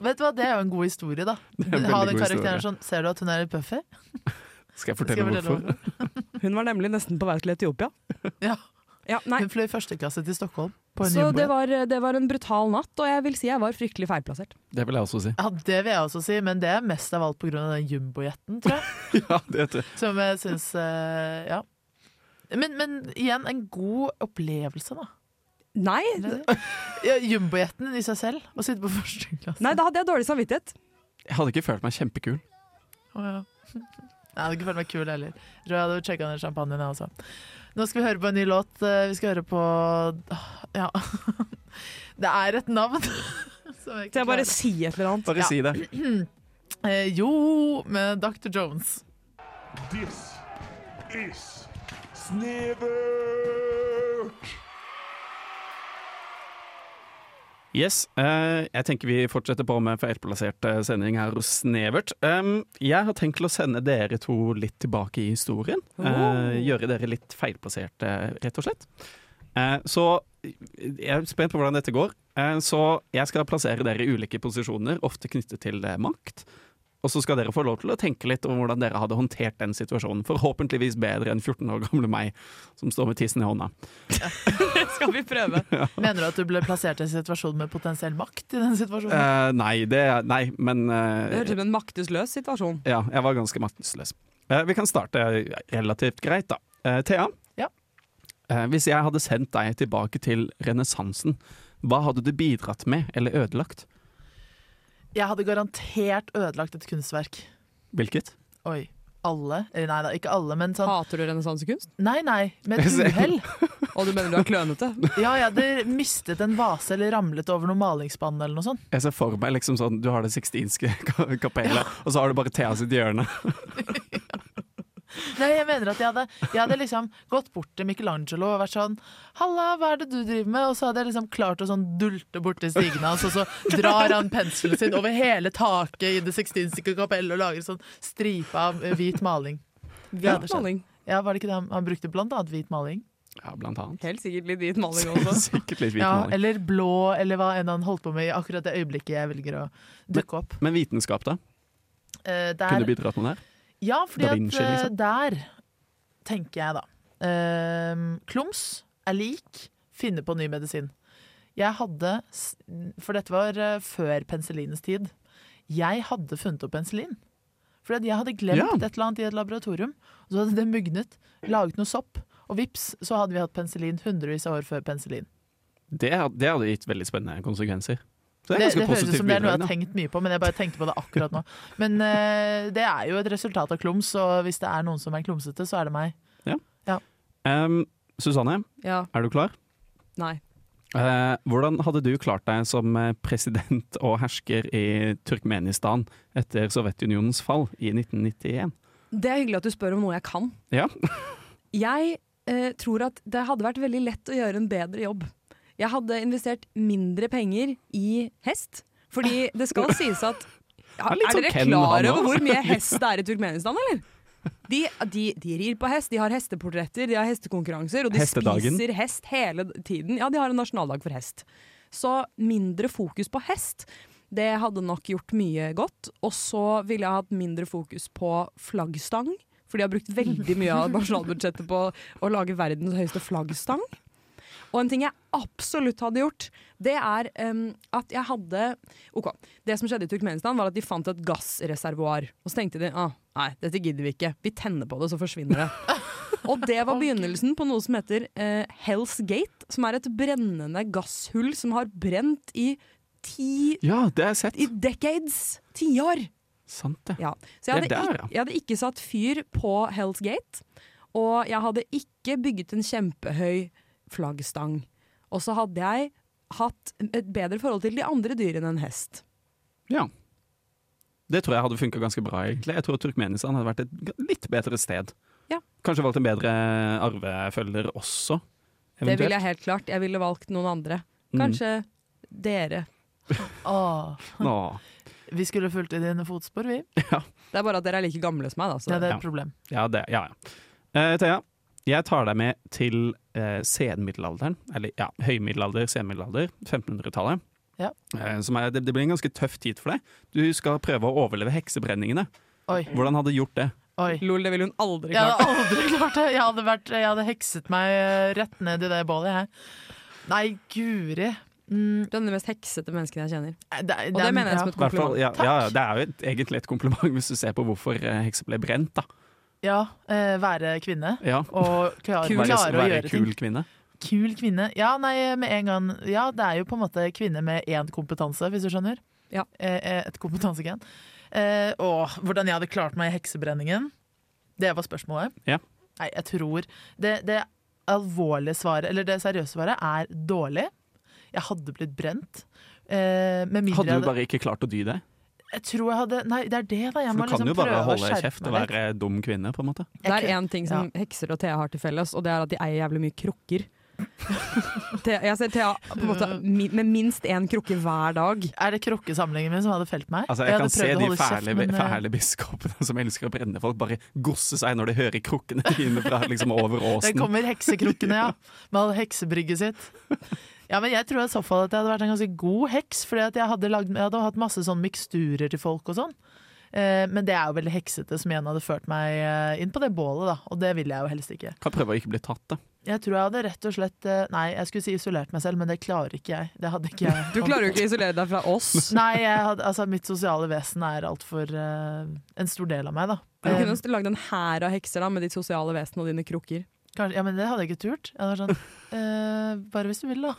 Speaker 7: Vet du hva, Det er jo en god historie, da.
Speaker 9: er en
Speaker 7: Ha
Speaker 9: veldig
Speaker 7: den
Speaker 9: god
Speaker 7: karakteren
Speaker 9: historie.
Speaker 7: sånn Ser du at hun er litt puffy?
Speaker 9: Skal jeg
Speaker 7: Skal
Speaker 9: fortelle
Speaker 7: jeg fortelle
Speaker 9: hvorfor?
Speaker 10: Hun var nemlig nesten på vei til Etiopia.
Speaker 7: Ja.
Speaker 10: Ja, nei.
Speaker 7: Hun fløy førsteklasse til Stockholm på en
Speaker 10: Så det
Speaker 7: jumbojet.
Speaker 10: var, eh, det var en brutal natt, og jeg vil si jeg var fryktelig feilplassert.
Speaker 9: Det vil jeg også si.
Speaker 7: Ja, det vil jeg også si, men det er mest av alt pga. den jumbojeten, tror jeg.
Speaker 9: Ja, det tror jeg.
Speaker 7: Som jeg syns eh, Ja. Men, men igjen, en god opplevelse, da.
Speaker 10: Nei,
Speaker 7: Ja, Jumbojeten i seg selv, å sitte på første klasse.
Speaker 10: nei, da hadde jeg dårlig samvittighet.
Speaker 9: Jeg hadde ikke følt meg kjempekul.
Speaker 7: Å, ja. Jeg hadde ikke følt meg kul heller. Jeg tror jeg hadde checka ned champagnen, jeg også. Nå skal vi høre på en ny låt. Eh, Vi skal høre på Ja. Det er et navn. som jeg ikke
Speaker 10: Så jeg bare
Speaker 7: klarer.
Speaker 10: si et eller annet.
Speaker 9: Bare
Speaker 7: Ja.
Speaker 9: si det.
Speaker 7: Eh, Jo, med Dr. Jones.
Speaker 11: This is Snevert!
Speaker 9: Yes, eh, jeg tenker vi fortsetter på med feilplassert eh, sending her hos Snevert. Em, jeg har tenkt til å sende dere to litt tilbake i historien. Eh,
Speaker 10: Oh.
Speaker 9: gjøre dere litt feilplasserte, rett og slett. Eh, så jeg er spent på hvordan dette går. Eh, så jeg skal plassere dere i ulike posisjoner, ofte knyttet til eh, makt. Og så skal dere få lov til å tenke litt om hvordan dere hadde håndtert den situasjonen. Forhåpentligvis bedre enn 14 år gamle meg som står med tissen i hånda.
Speaker 10: Skal vi prøve?
Speaker 7: Mener du at du ble plassert i en situasjon med potensiell makt i den situasjonen?
Speaker 9: Eh, nei, det Nei, men eh,
Speaker 10: Det høres ut som en maktesløs situasjon.
Speaker 9: Ja, jeg var ganske maktesløs. Eh, vi kan starte relativt greit, da. Eh, Thea,
Speaker 7: Ja.
Speaker 9: Eh, hvis jeg hadde sendt deg tilbake til renessansen, hva hadde du bidratt med eller ødelagt?
Speaker 7: Jeg hadde garantert ødelagt et kunstverk.
Speaker 9: Hvilket?
Speaker 7: Oi. Alle? Eller Nei da, ikke alle, men sånn
Speaker 10: Hater du renessansekunst?
Speaker 7: Nei, nei, med et uhell.
Speaker 10: Og du mener du er klønete?
Speaker 7: Ja, jeg hadde mistet en vase eller ramlet over noe malingsspann eller noe sånt.
Speaker 9: Jeg ser for meg liksom sånn, du har det sixtinske ka- kapellet, og så har du bare Thea sitt hjørne.
Speaker 7: Nei, jeg mener at jeg hadde, jeg hadde liksom gått bort til Michelangelo og vært sånn Halla, hva er det du driver med? Og så hadde jeg liksom klart å sånn dulte borti stigene hans, og så drar han penselen sin over hele taket i Det sixtinske kapell og lager sånn stripe av eh, hvit maling.
Speaker 10: Hvit maling.
Speaker 7: Ja, var det ikke det han, han brukte blant annet hvit maling?
Speaker 9: Ja, blant annet.
Speaker 10: Helt sikkert litt hvit maling også.
Speaker 9: Sikkert litt hvit
Speaker 7: Ja,
Speaker 9: maling.
Speaker 7: eller blå, eller hva enn han holdt på med i akkurat det øyeblikket jeg velger å dukke opp.
Speaker 9: Men vitenskap, da?
Speaker 7: Eh, der-
Speaker 9: Kunne du bidratt med det? her?
Speaker 7: Ja, fordi
Speaker 9: Da
Speaker 7: at
Speaker 9: Vinci,
Speaker 7: eh,
Speaker 9: liksom.
Speaker 7: der tenker jeg da eh, klums er lik finne på ny medisin. Jeg hadde, s- for dette var eh, før penicillinens tid, jeg hadde funnet opp penicillin. For jeg hadde glemt
Speaker 9: Ja.
Speaker 7: et eller annet i et laboratorium, og så hadde det mugnet, laget noe sopp, og vips, så hadde vi hatt penicillin hundrevis av år før penicillin.
Speaker 9: Det, had- det hadde gitt veldig spennende konsekvenser. Så
Speaker 7: Det,
Speaker 9: det er
Speaker 7: det,
Speaker 9: ganske
Speaker 7: høres ut
Speaker 9: positivt
Speaker 7: som det er noe
Speaker 9: bidrag.
Speaker 7: jeg har
Speaker 9: da.
Speaker 7: tenkt mye på, men jeg bare tenkte på det akkurat nå. Men eh, det er jo et resultat av klums, og hvis det er noen som er klumsete, så er det meg.
Speaker 9: Em, Susanne,
Speaker 10: Ja.
Speaker 9: er du klar?
Speaker 10: Nei.
Speaker 9: Eh, hvordan hadde du klart deg som eh, president og hersker i Turkmenistan etter Sovjetunionens fall i 1991?
Speaker 10: Det er hyggelig at du spør om noe jeg kan.
Speaker 9: Ja.
Speaker 10: Jeg eh, tror at det hadde vært veldig lett å gjøre en bedre jobb. Jeg hadde investert mindre penger i hest, fordi det skal sies at ja,
Speaker 9: er
Speaker 10: Er,
Speaker 9: litt sånn
Speaker 10: dere
Speaker 9: Ken, han
Speaker 10: klar
Speaker 9: også.
Speaker 10: over hvor mye hest det er i Turkmenistan, eller? De, de, de rir på hest, de har hesteportretter, de har hestekonkurranser, og de
Speaker 9: Hestedagen.
Speaker 10: spiser hest hele tiden. Ja, de har en nasjonaldag for hest. Så mindre fokus på hest. Det hadde nok gjort mye godt. Og så ville jeg hatt mindre fokus på flaggstang. For de har brukt veldig mye av nasjonalbudsjettet på å lage verdens høyeste flaggstang. Og en ting jeg absolutt hadde gjort, det er em, at jeg hadde Ok, det som skjedde i Turkmenistan var at de fant et gassreservoar. Og så tenkte de ah, nei, dette gidder vi ikke. Vi tenner på det, så forsvinner det. og det var begynnelsen på noe som heter eh, Hell's Gate, som er et brennende gasshull som har brent i ti
Speaker 9: Ja, det har jeg sett.
Speaker 10: i decades. Tiår.
Speaker 9: Sant det.
Speaker 10: Ja. Så jeg hadde,
Speaker 9: Det er der,
Speaker 10: ik-
Speaker 9: ja.
Speaker 10: jeg hadde ikke satt fyr på Hell's Gate, og jeg hadde ikke bygget en kjempehøy flaggstang. Og så hadde jeg hatt et bedre forhold til de andre dyrene enn hest.
Speaker 9: Ja. Det tror jeg hadde funka ganske bra, egentlig. Jeg tror Turkmenistan hadde vært et g- litt bedre sted.
Speaker 10: Ja.
Speaker 9: Kanskje valgt en bedre arvefølger også,
Speaker 10: Det ville
Speaker 9: eventuelt. Mm.
Speaker 10: jeg helt klart. Jeg ville valgt noen andre. Kanskje dere.
Speaker 7: Åh.
Speaker 9: Mm. Nå.
Speaker 7: Vi skulle fulgt i dine fotspor, vi.
Speaker 10: Det er bare at dere er like gamle som meg, da. Så.
Speaker 7: Ja, det er
Speaker 9: Ja.
Speaker 7: et problem.
Speaker 9: Ja, det, ja, ja. Eh, Thea, jeg tar deg med til eh, senmiddelalderen, eller ja, høymiddelalder, senmiddelalder, 1500-tallet.
Speaker 7: Ja.
Speaker 9: Eh, som er, det, det blir en ganske tøff tid for deg. Du skal prøve å overleve heksebrenningene.
Speaker 7: Oi,
Speaker 9: Hvordan hadde du gjort det?
Speaker 7: oi.
Speaker 10: Lol, det ville hun aldri
Speaker 7: Jeg
Speaker 10: klart.
Speaker 7: hadde aldri klart det. Jeg hadde, vært, jeg hadde hekset meg eh, rett ned i det bålet, jeg. Nei, guri. Mm,
Speaker 10: Du er den mest heksete mennesken jeg kjenner.
Speaker 7: det,
Speaker 10: Og det mener jeg som et
Speaker 9: I hvert fall,
Speaker 10: kompliment.
Speaker 9: ja,
Speaker 7: Takk.
Speaker 9: ja, det er jo et, egentlig et kompliment hvis du ser på hvorfor eh, hekser ble brent. Da.
Speaker 7: Ja, eh, være kvinne.
Speaker 9: Ja.
Speaker 7: Og klare,
Speaker 9: Være-
Speaker 7: klare å
Speaker 9: være
Speaker 7: gjøre ting.
Speaker 9: kul kvinne.
Speaker 7: Kul kvinne. Ja, nei, med en gang Ja, det er jo på en måte kvinne med én kompetanse, hvis du skjønner.
Speaker 10: Ja.
Speaker 7: Eh, eh, et kompetansegen. Eh, og hvordan jeg hadde klart meg i heksebrenningen. Det var spørsmålet.
Speaker 9: Ja.
Speaker 7: Nei, jeg tror det, det alvorlige svaret, eller det seriøse svaret, er dårlig. Jeg hadde blitt brent. Eh, med mindre
Speaker 9: Hadde
Speaker 7: jeg
Speaker 9: du bare ikke klart å dy deg?
Speaker 7: Jeg tror jeg hadde Nei, det er det, da. Jeg
Speaker 9: For
Speaker 7: må
Speaker 9: du kan
Speaker 7: liksom
Speaker 9: jo bare
Speaker 7: prøve å
Speaker 9: holde
Speaker 7: skjerpe
Speaker 9: kjeft og
Speaker 7: meg litt.
Speaker 9: være dum kvinne, på en måte.
Speaker 10: Det
Speaker 7: Jeg
Speaker 10: er
Speaker 7: kunne-
Speaker 10: én ting som hekser og Thea har til felles, og det er at de eier jævlig mye krukker. Thea, jeg ser Thea på en måte
Speaker 7: Mm.
Speaker 10: mi- med minst én krukke hver dag.
Speaker 7: Er det krokkesamlingen min som hadde felt meg?
Speaker 9: Altså, jeg, kan
Speaker 7: hadde
Speaker 9: se
Speaker 7: prøvd å
Speaker 9: de
Speaker 7: holde kjeft,
Speaker 9: fæle,
Speaker 7: men, eh,
Speaker 9: fæle biskopene som elsker å brenne folk, bare gosse seg når de hører krukkene dine fra liksom over
Speaker 7: Det
Speaker 9: åsen.
Speaker 7: kommer heksekrukkene, ja. Med all heksebrygget sitt. Ja, men Jeg tror i så fall at jeg hadde vært en ganske god heks, Fordi at jeg hadde, lagd, jeg hadde hatt masse sånn miksturer til folk og sånn. Eh, men det er jo veldig heksete, som igjen hadde ført meg eh, inn på det bålet, da. Og det ville jeg jo helst ikke.
Speaker 9: Kan prøve å ikke bli tatt, da.
Speaker 7: Jeg tror jeg hadde rett og slett eh, Nei, jeg skulle si isolert meg selv, men det klarer ikke jeg. Det hadde ikke jeg.
Speaker 10: Du klarer jo ikke å isolere deg fra oss.
Speaker 7: Nei, jeg hadde, altså, mitt sosiale vesen er altfor uh, en stor del av meg, da.
Speaker 10: Du kunne jo lagd en hær av hekser da, med ditt sosiale vesen og dine krukker.
Speaker 7: Kanskje, ja, men det hadde jeg ikke turt. Jeg var sånn, eh, bare hvis du vil, da.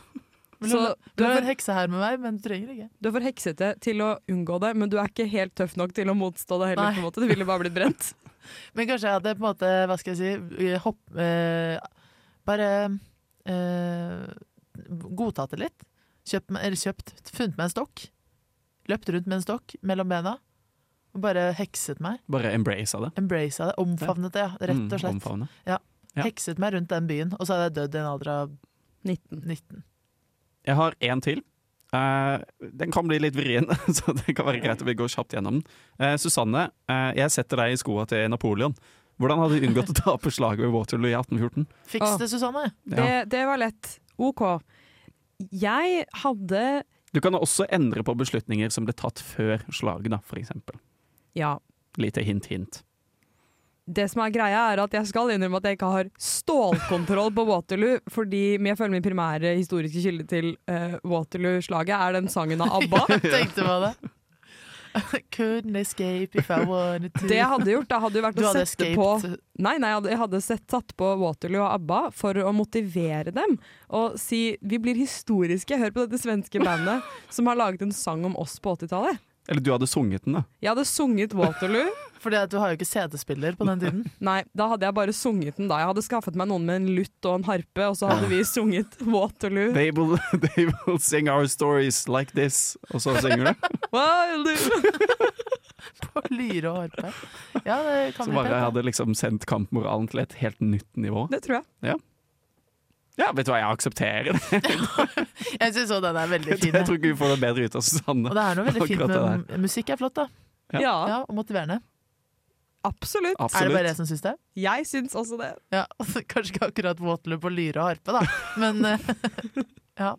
Speaker 7: Vil du,
Speaker 10: Så-
Speaker 7: du har en hekse her med meg, men du trenger ikke.
Speaker 10: Du er for heksete til å unngå det, men du er ikke helt tøff nok til å motstå det
Speaker 7: Nei.
Speaker 10: heller. på en måte. Du ville bare blitt brent.
Speaker 7: Men kanskje jeg hadde på en måte, hva skal jeg si, hopp, eh, bare eh, godtatt det litt. Kjøpt, meg- eller kjøpt, funnet meg en stokk. Løpt rundt med en stokk mellom bena. Og bare hekset meg.
Speaker 9: Bare embrace av det.
Speaker 7: Embracet det. Omfavnet det, ja. Rett
Speaker 9: Mm,
Speaker 7: og slett.
Speaker 9: omfavne. ja.
Speaker 7: Hekset meg rundt den byen, og så hadde jeg dødd i en alder av
Speaker 10: 19.
Speaker 7: 19.
Speaker 9: Jeg har én til. Eh, den kan bli litt vrien, så det kan være greit at vi går kjapt gjennom den. Eh, Susanne, eh, jeg setter deg i skoa til Napoleon. Hvordan hadde du unngått å tape slaget ved Waterloo i 1814?
Speaker 7: Fiks
Speaker 10: Åh.
Speaker 7: det, Susanne!
Speaker 10: Det, det var lett. OK. Jeg hadde
Speaker 9: Du kan også endre på beslutninger som ble tatt før slaget, da, for eksempel.
Speaker 10: Ja.
Speaker 9: Lite hint, hint.
Speaker 10: det som er greia er at jeg skal innrømme at jeg ikke har stålkontroll på Waterloo, fordi men jeg føler min primære historiske kilde til eh, Waterloo-slaget er den sangen av ABBA.
Speaker 7: Jeg tenkte på det. Couldn't escape if I wanted to.
Speaker 10: Det jeg hadde gjort, da hadde jo vært
Speaker 7: du
Speaker 10: å
Speaker 7: hadde
Speaker 10: sette på
Speaker 7: escaped.
Speaker 10: Nei, nei, jeg hadde- jeg hadde sett, satt på Waterloo og ABBA for å motivere dem. Og si vi blir historiske. Hør på dette svenske bandet som har laget en sang om oss på 80-tallet.
Speaker 9: Eller du hadde sunget den, da.
Speaker 10: Jeg hadde sunget Waterloo.
Speaker 7: Fordi at du har jo ikke CD-spiller på den tiden.
Speaker 10: Nei, da hadde jeg bare sunget den da. Jeg hadde skaffet meg noen med en lutt og en harpe, og så hadde vi sunget Waterloo.
Speaker 9: They will, they will sing our stories like this. Og så synger du.
Speaker 10: Waterloo.
Speaker 7: På lyre og harpe. Ja, det kan
Speaker 9: Så
Speaker 7: bli pent.
Speaker 9: bare
Speaker 7: da.
Speaker 9: hadde liksom sendt kampmoralen til et helt nytt nivå.
Speaker 10: Det tror jeg.
Speaker 9: Ja, vet du hva, jeg aksepterer det.
Speaker 7: Jeg syns også den er veldig fin.
Speaker 9: Jeg tror ikke vi får det bedre ut av Susanne.
Speaker 7: Og det er noe veldig fint
Speaker 9: Akkurat det
Speaker 7: med musikk. er flott, da.
Speaker 9: Ja.
Speaker 10: Ja,
Speaker 7: Ja, Og motiverende. Er
Speaker 10: absolutt.
Speaker 7: det bare jeg
Speaker 9: Absolutt.
Speaker 7: som syns det?
Speaker 10: Jeg syns også det.
Speaker 7: Ja, altså, Kanskje ikke akkurat Waterloo på lyre og harpe, da, men eh, ja.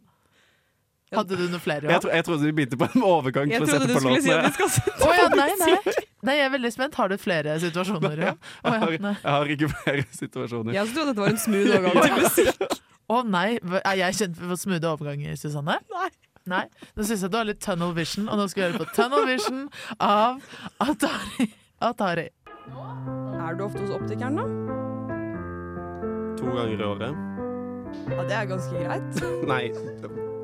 Speaker 7: Hadde du noe flere?
Speaker 9: Jeg,
Speaker 7: Johan?
Speaker 9: tro, jeg trodde vi begynte på en overgang
Speaker 10: Jeg
Speaker 9: til å
Speaker 10: trodde
Speaker 9: sette
Speaker 10: du
Speaker 9: på
Speaker 10: skulle si at vi
Speaker 9: låtene.
Speaker 10: skal sette
Speaker 7: Å ja, nei, nei. nei, jeg er veldig spent. Har du flere situasjoner? Johan? Å
Speaker 9: Jeg har,
Speaker 7: ja, nei.
Speaker 9: jeg har ikke flere situasjoner.
Speaker 10: Jeg trodde dette var en smooth overgang til musikk.
Speaker 7: Å nei, er jeg kjent for smoothe overganger, Susanne? Nei. Nei, Nå syns jeg du har litt tunnel vision, og nå skal vi høre på Tunnel Vision av Atari. Atari.
Speaker 10: Er du ofte hos optikeren, da?
Speaker 9: To ganger i året.
Speaker 10: Ja, det er ganske greit.
Speaker 9: Nei.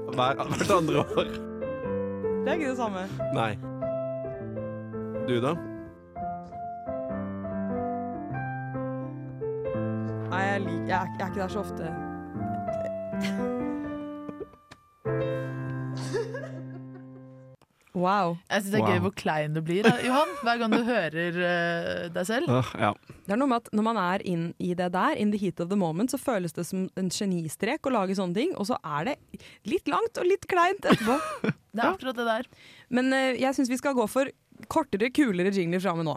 Speaker 9: Hver, hvert andre år.
Speaker 10: Det er ikke det samme.
Speaker 9: Nei. Du, da?
Speaker 10: Nei, jeg, lik, jeg, er- jeg er ikke der så ofte. Wow.
Speaker 7: Jeg syns det er gøy
Speaker 9: Wow.
Speaker 7: hvor klein du blir, da, Johan, hver gang du hører eh, deg selv.
Speaker 9: ja.
Speaker 10: Det er noe med at Når man er inn i det der, in the heat of the moment, så føles det som en genistrek å lage sånne ting, og så er det litt langt og litt kleint etterpå.
Speaker 7: Det er akkurat det der.
Speaker 10: Men eh, jeg syns vi skal gå for kortere, kulere jingler framme nå.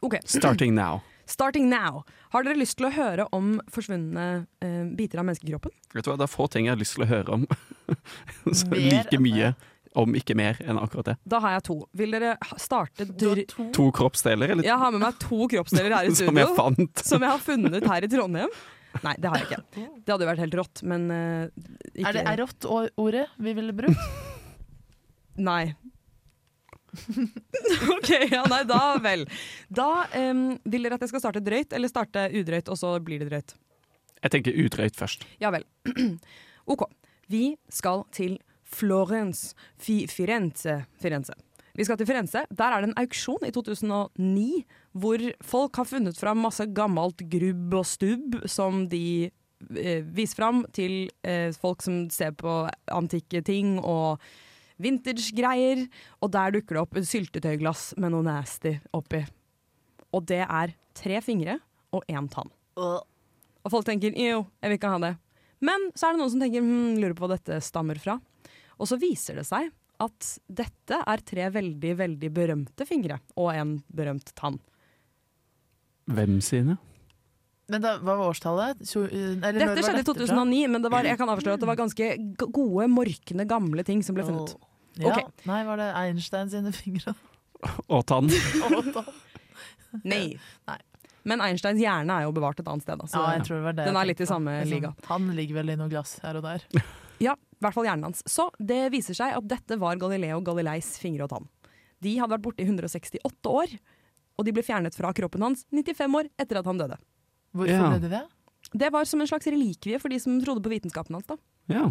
Speaker 10: Ok,
Speaker 9: Starting now.
Speaker 10: Starting now. Har dere lyst til å høre om forsvunne eh, biter av menneskekroppen?
Speaker 9: Vet du hva, Det er få ting jeg har lyst til å høre om. Så
Speaker 7: Mer
Speaker 9: like
Speaker 7: enn
Speaker 9: mye, om ikke mer, enn akkurat det.
Speaker 10: Da har jeg to. Vil dere ha- starte
Speaker 7: Du har
Speaker 10: dr
Speaker 7: to.
Speaker 9: To kroppsdeler, eller?
Speaker 10: Jeg har med meg to kroppsdeler her i studio.
Speaker 9: Som jeg fant.
Speaker 10: som jeg har funnet her i Trondheim. Nei, det har jeg ikke. Det hadde jo vært helt rått, men eh, ikke
Speaker 7: Er det erott-ordet vi ville brukt?
Speaker 10: Nei. OK, ja, nei, da vel. Da em, vil dere at jeg skal starte drøyt, eller starte udrøyt, og så blir det drøyt?
Speaker 9: Jeg tenker utrøyt først.
Speaker 10: Ja vel. OK. Vi skal til Florence Fi Firenze. Firenze. Vi skal til Firenze. Der er det en auksjon i 2009 hvor folk har funnet fram masse gammelt grubb og stubb som de eh, viser fram til eh, folk som ser på antikke ting og vintage-greier. Og der dukker det opp et syltetøyglass med noe nasty oppi. Og det er tre fingre og én tann. Og folk tenker jo, jeg vil ikke ha det. Men så er det noen som tenker hm, lurer på hva dette stammer fra. Og så viser det seg at dette er tre veldig, veldig berømte fingre og en berømt tann.
Speaker 9: Hvem sine?
Speaker 7: Men da, hva var årstallet? Tjo- eh, eller når
Speaker 10: Dette
Speaker 7: var
Speaker 10: skjedde i
Speaker 7: dette fra?
Speaker 10: 2009, men det var, jeg kan avsløre at det var ganske g- gode, morkende, gamle ting som ble funnet.
Speaker 7: Åh. Ja.
Speaker 10: Ok.
Speaker 7: Nei, var det Einstein sine fingre?
Speaker 9: Og tann.
Speaker 7: Åh, da.
Speaker 10: Nei.
Speaker 7: Nei.
Speaker 10: Men Einsteins hjerne er jo bevart et annet sted. da, så-
Speaker 7: ja, jeg tror det var det.
Speaker 10: Den
Speaker 7: jeg
Speaker 10: er litt
Speaker 7: tenkte
Speaker 10: i
Speaker 7: på.
Speaker 10: samme
Speaker 7: Det er sånn,
Speaker 10: liga.
Speaker 7: Han ligger vel i noe glass her og der.
Speaker 10: Ja, i hvert fall hjernen hans. Så det viser seg at dette var Galileo Galileis fingre og tann. De hadde vært borte i 168 år, og de ble fjernet fra kroppen hans 95 år etter at han døde.
Speaker 7: Hvorfor
Speaker 9: Ja.
Speaker 7: ble det det?
Speaker 10: Det var som en slags relikvie for de som trodde på vitenskapen hans. da.
Speaker 9: Ja.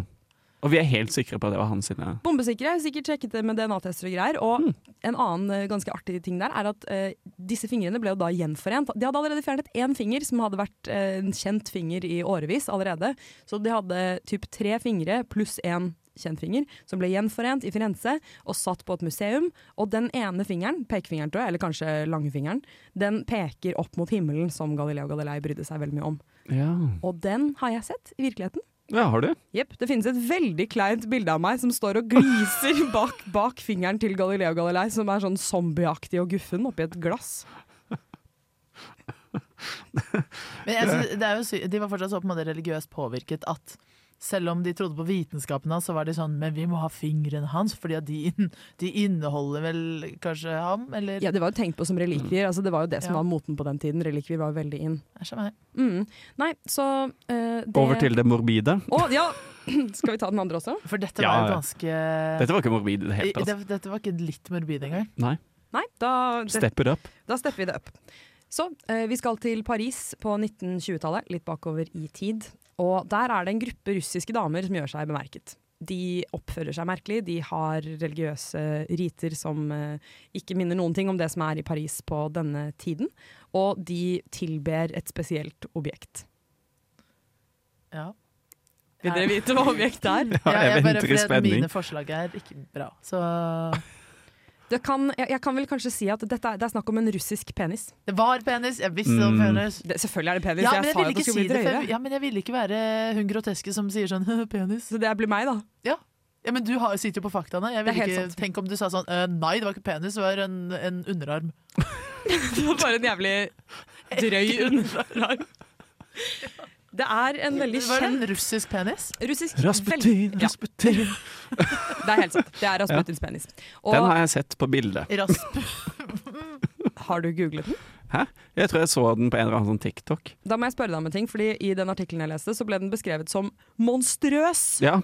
Speaker 9: Og vi er helt sikre på at det var han sine.
Speaker 10: Bombesikre, sikkert sjekket det med DNA-tester og greier. Og en annen eh, ganske artig ting der er at eh, disse fingrene ble jo da gjenforent. De hadde allerede fjernet én finger, som hadde vært eh, en kjent finger i årevis allerede. Så de hadde typ tre fingre pluss én kjent finger, som ble gjenforent i Firenze og satt på et museum. Og den ene fingeren, pekefingeren tror jeg, eller kanskje langfingeren, den peker opp mot himmelen, som Galileo Galilei brydde seg veldig mye om.
Speaker 9: Ja.
Speaker 10: Og den har jeg sett i virkeligheten.
Speaker 9: ja, har du?
Speaker 10: Jepp, det finnes et veldig kleint bilde av meg som står og gliser bak, bak fingeren til Galileo Galilei, som er sånn zombieaktig og guffen oppi et glass.
Speaker 7: Men jeg synes, det er jo sy de var fortsatt så på en måte religiøst påvirket at Selv om de trodde på vitenskapen hans, så var de sånn Men vi må ha fingrene hans, fordi at de, inn- de inneholder vel kanskje ham, eller
Speaker 10: Ja, Det var jo tenkt på som relikvier. Altså, det var jo det som
Speaker 7: Ja.
Speaker 10: var moten på den tiden. Relikvier var jo veldig in.
Speaker 7: Æsj a meg.
Speaker 10: Mm. Nei, så eh, det...
Speaker 9: Over til det morbide.
Speaker 10: Å, ja! Skal vi ta den andre også?
Speaker 7: For dette
Speaker 9: Ja,
Speaker 7: var jo
Speaker 9: ja.
Speaker 7: ganske
Speaker 9: Dette var ikke morbid i det hele
Speaker 7: I-
Speaker 9: tatt.
Speaker 7: det, dette var ikke litt morbid engang.
Speaker 9: Nei.
Speaker 10: Nei, da, det,
Speaker 9: Step it up.
Speaker 10: da stepper vi det opp. Så eh, vi skal til Paris på 1920-tallet, litt bakover i tid. Og der er det en gruppe russiske damer som gjør seg bemerket. De oppfører seg merkelig, de har religiøse riter som eh, ikke minner noen ting om det som er i Paris på denne tiden. Og de tilber et spesielt objekt.
Speaker 7: Ja.
Speaker 10: Vil dere vite hva objektet er?
Speaker 9: Ja,
Speaker 7: Ja,
Speaker 9: jeg
Speaker 7: jeg bare
Speaker 9: venter i
Speaker 7: fordi at
Speaker 9: spenning.
Speaker 7: mine forslag er ikke bra. Så
Speaker 10: Det kan, jeg, jeg kan vel kanskje si at dette er, det er snakk om en russisk penis.
Speaker 7: det var penis! Jeg visste det var
Speaker 9: Mm.
Speaker 7: penis.
Speaker 10: Det, selvfølgelig er det penis.
Speaker 7: Ja,
Speaker 10: jeg,
Speaker 7: men jeg
Speaker 10: sa jo
Speaker 7: ville
Speaker 10: at det
Speaker 7: ikke si
Speaker 10: skulle bli
Speaker 7: det, for
Speaker 10: drøyere.
Speaker 7: jeg, ja, men jeg ville ikke være hun groteske som sier sånn penis.
Speaker 10: Så det blir meg, da.
Speaker 7: Ja, men du har, sitter jo på faktaene. Jeg
Speaker 10: Det er
Speaker 7: ville
Speaker 10: helt
Speaker 7: ikke
Speaker 10: sant.
Speaker 7: Tenk om du sa sånn «Øh, Nei, det var ikke penis, det var en, en underarm.
Speaker 10: Det var bare en jævlig drøy underarm. Det er en veldig
Speaker 7: Det var en
Speaker 10: kjent
Speaker 7: russisk penis.
Speaker 10: russisk
Speaker 9: Rasputin,
Speaker 10: vel- Ja,
Speaker 9: Rasputin.
Speaker 10: det er helt sant. Det er Rasputins penis. Og
Speaker 9: Den
Speaker 10: har,
Speaker 9: har jeg sett på bildet.
Speaker 7: Rasp.
Speaker 10: du googlet den?
Speaker 9: Jeg tror jeg så den på en eller annen sånn TikTok.
Speaker 10: Da må jeg spørre deg om en ting, fordi i den artikkelen jeg leste, så ble den beskrevet som monstrøs.
Speaker 9: Ja.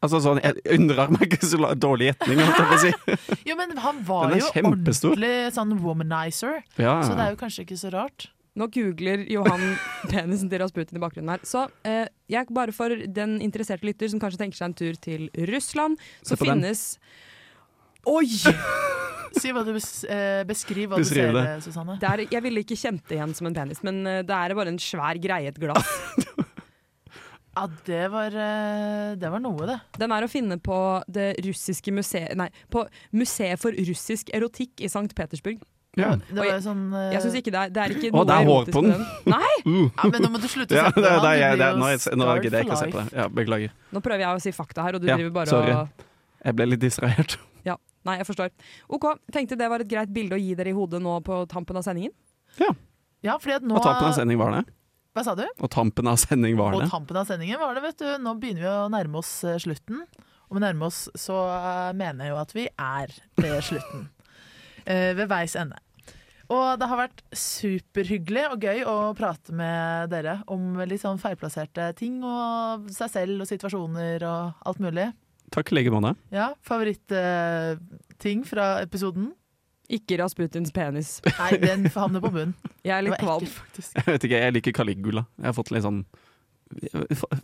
Speaker 9: Altså sånn, jeg underarm er ikke så la- dårlig gjetning, holdt jeg på å si.
Speaker 7: Jo, men han var
Speaker 9: Den er
Speaker 7: jo
Speaker 9: kjempestor. Ah.
Speaker 7: ordentlig sånn womanizer,
Speaker 9: Ja,
Speaker 7: så det
Speaker 9: ja.
Speaker 7: er jo kanskje ikke så rart.
Speaker 10: Nå googler Johan penisen til Rasputin i bakgrunnen her. Så eh, jeg bare for den interesserte lytter som kanskje tenker seg en tur til Russland, så
Speaker 9: Se på den.
Speaker 10: finnes Oi!
Speaker 7: Si hva du bes eh, Beskriv hva
Speaker 9: Beskriv
Speaker 7: du ser, eh,
Speaker 9: det.
Speaker 7: Susanne.
Speaker 10: Det er, jeg ville ikke kjent det igjen som en penis, men eh, det er bare en svær greie i et glass.
Speaker 7: Ja, det var, eh, det var noe, det.
Speaker 10: Den er å finne på det russiske museet Nei, på Museet for russisk erotikk i St. Petersburg.
Speaker 9: ja.
Speaker 7: Det var
Speaker 10: jeg-
Speaker 7: jo sånn eh,
Speaker 10: Jeg synes ikke det er, det er ikke
Speaker 9: Å,
Speaker 10: noe
Speaker 9: det er hår
Speaker 10: erotisk
Speaker 9: på den.
Speaker 10: med den. Nei!
Speaker 7: ja, Men nå må du slutte
Speaker 9: Ja,
Speaker 7: å
Speaker 9: det,
Speaker 7: snakke
Speaker 9: det,
Speaker 7: om
Speaker 9: er jeg-
Speaker 7: han.
Speaker 9: det, er-
Speaker 7: Du
Speaker 9: nå
Speaker 7: blir jo
Speaker 9: er jeg- nå gidder jeg ikke å se
Speaker 7: scarred for
Speaker 9: på det. Ja, beklager.
Speaker 10: Nå prøver jeg å si fakta her, og du
Speaker 9: Ja,
Speaker 10: driver bare
Speaker 9: sorry.
Speaker 10: og
Speaker 9: Jeg ble litt distrahert.
Speaker 10: Ja, nei, jeg forstår. OK, tenkte det var et greit bilde å gi dere i hodet nå på tampen av sendingen.
Speaker 7: life. Ja, fordi at nå
Speaker 9: Og tampen av sending var det.
Speaker 7: Hva sa du?
Speaker 9: Og tampen av sending var
Speaker 7: Og
Speaker 9: det.
Speaker 7: tampen av sendingen var det, vet du. Nå begynner vi å nærme oss eh, slutten. Om vi nærmer oss, så eh, mener jeg jo at vi er ved slutten. Eh, ved veis ende. Og det har vært superhyggelig og gøy å prate med dere om litt sånn feilplasserte ting og seg selv og situasjoner og alt mulig.
Speaker 9: Takk i like måte.
Speaker 7: Ja, favorittting fra episoden?
Speaker 10: Ikke Rasputins penis.
Speaker 7: Nei, den havner på bunnen.
Speaker 10: Jeg er
Speaker 7: Det
Speaker 10: litt
Speaker 7: var
Speaker 10: kvalm.
Speaker 7: ekkelt, faktisk.
Speaker 9: Jeg vet ikke, jeg liker Caligula. Jeg har fått litt sånn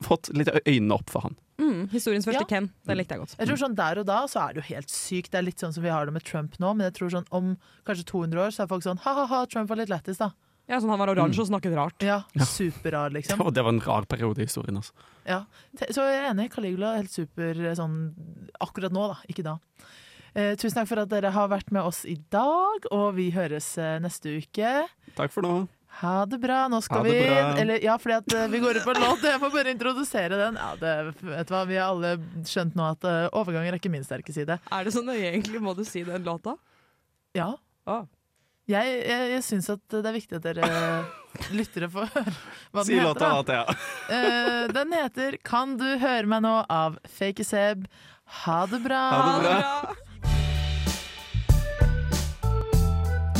Speaker 9: Fått litt øynene opp for han.
Speaker 10: Mm, historiens første
Speaker 7: Ja.
Speaker 10: Ken. Den likte jeg godt.
Speaker 7: Jeg tror sånn Der og da så er det jo helt sykt. Det er litt sånn som vi har det med Trump nå, men jeg tror sånn om kanskje 200 år så er folk sånn ha-ha-ha, Trump var litt lættis, da.
Speaker 10: Ja, sånn Han var oransje og snakket rart.
Speaker 7: Ja, Superrar, liksom.
Speaker 9: Og det var en rar periode i historien. Altså.
Speaker 7: Ja. Te- Så jeg er enig. Caligula er helt super eh, sånn akkurat nå, da. Ikke da. Eh, tusen takk for at dere har vært med oss i dag, og vi høres eh, neste uke.
Speaker 9: Takk for nå.
Speaker 7: Ha det bra. Nå skal
Speaker 9: Ha det
Speaker 7: vi
Speaker 9: bra.
Speaker 7: Eller, ja, fordi at eh, vi går ut på en låt. Jeg må bare introdusere den. Ja, det, vet du hva, Vi har alle skjønt nå at eh, overganger er ikke min sterke side.
Speaker 9: Mm.
Speaker 10: Er det så nøye, egentlig? Må du si den låta?
Speaker 7: Ja.
Speaker 10: Ah.
Speaker 7: Jeg, jeg, jeg syns at det er viktig at dere lyttere får høre hva den
Speaker 9: Si
Speaker 7: heter.
Speaker 9: låta
Speaker 7: da.
Speaker 9: da til ja.
Speaker 7: Eh, den heter 'Kan du høre meg nå?' av Fake Seb. Ha det bra!
Speaker 9: Ha det bra.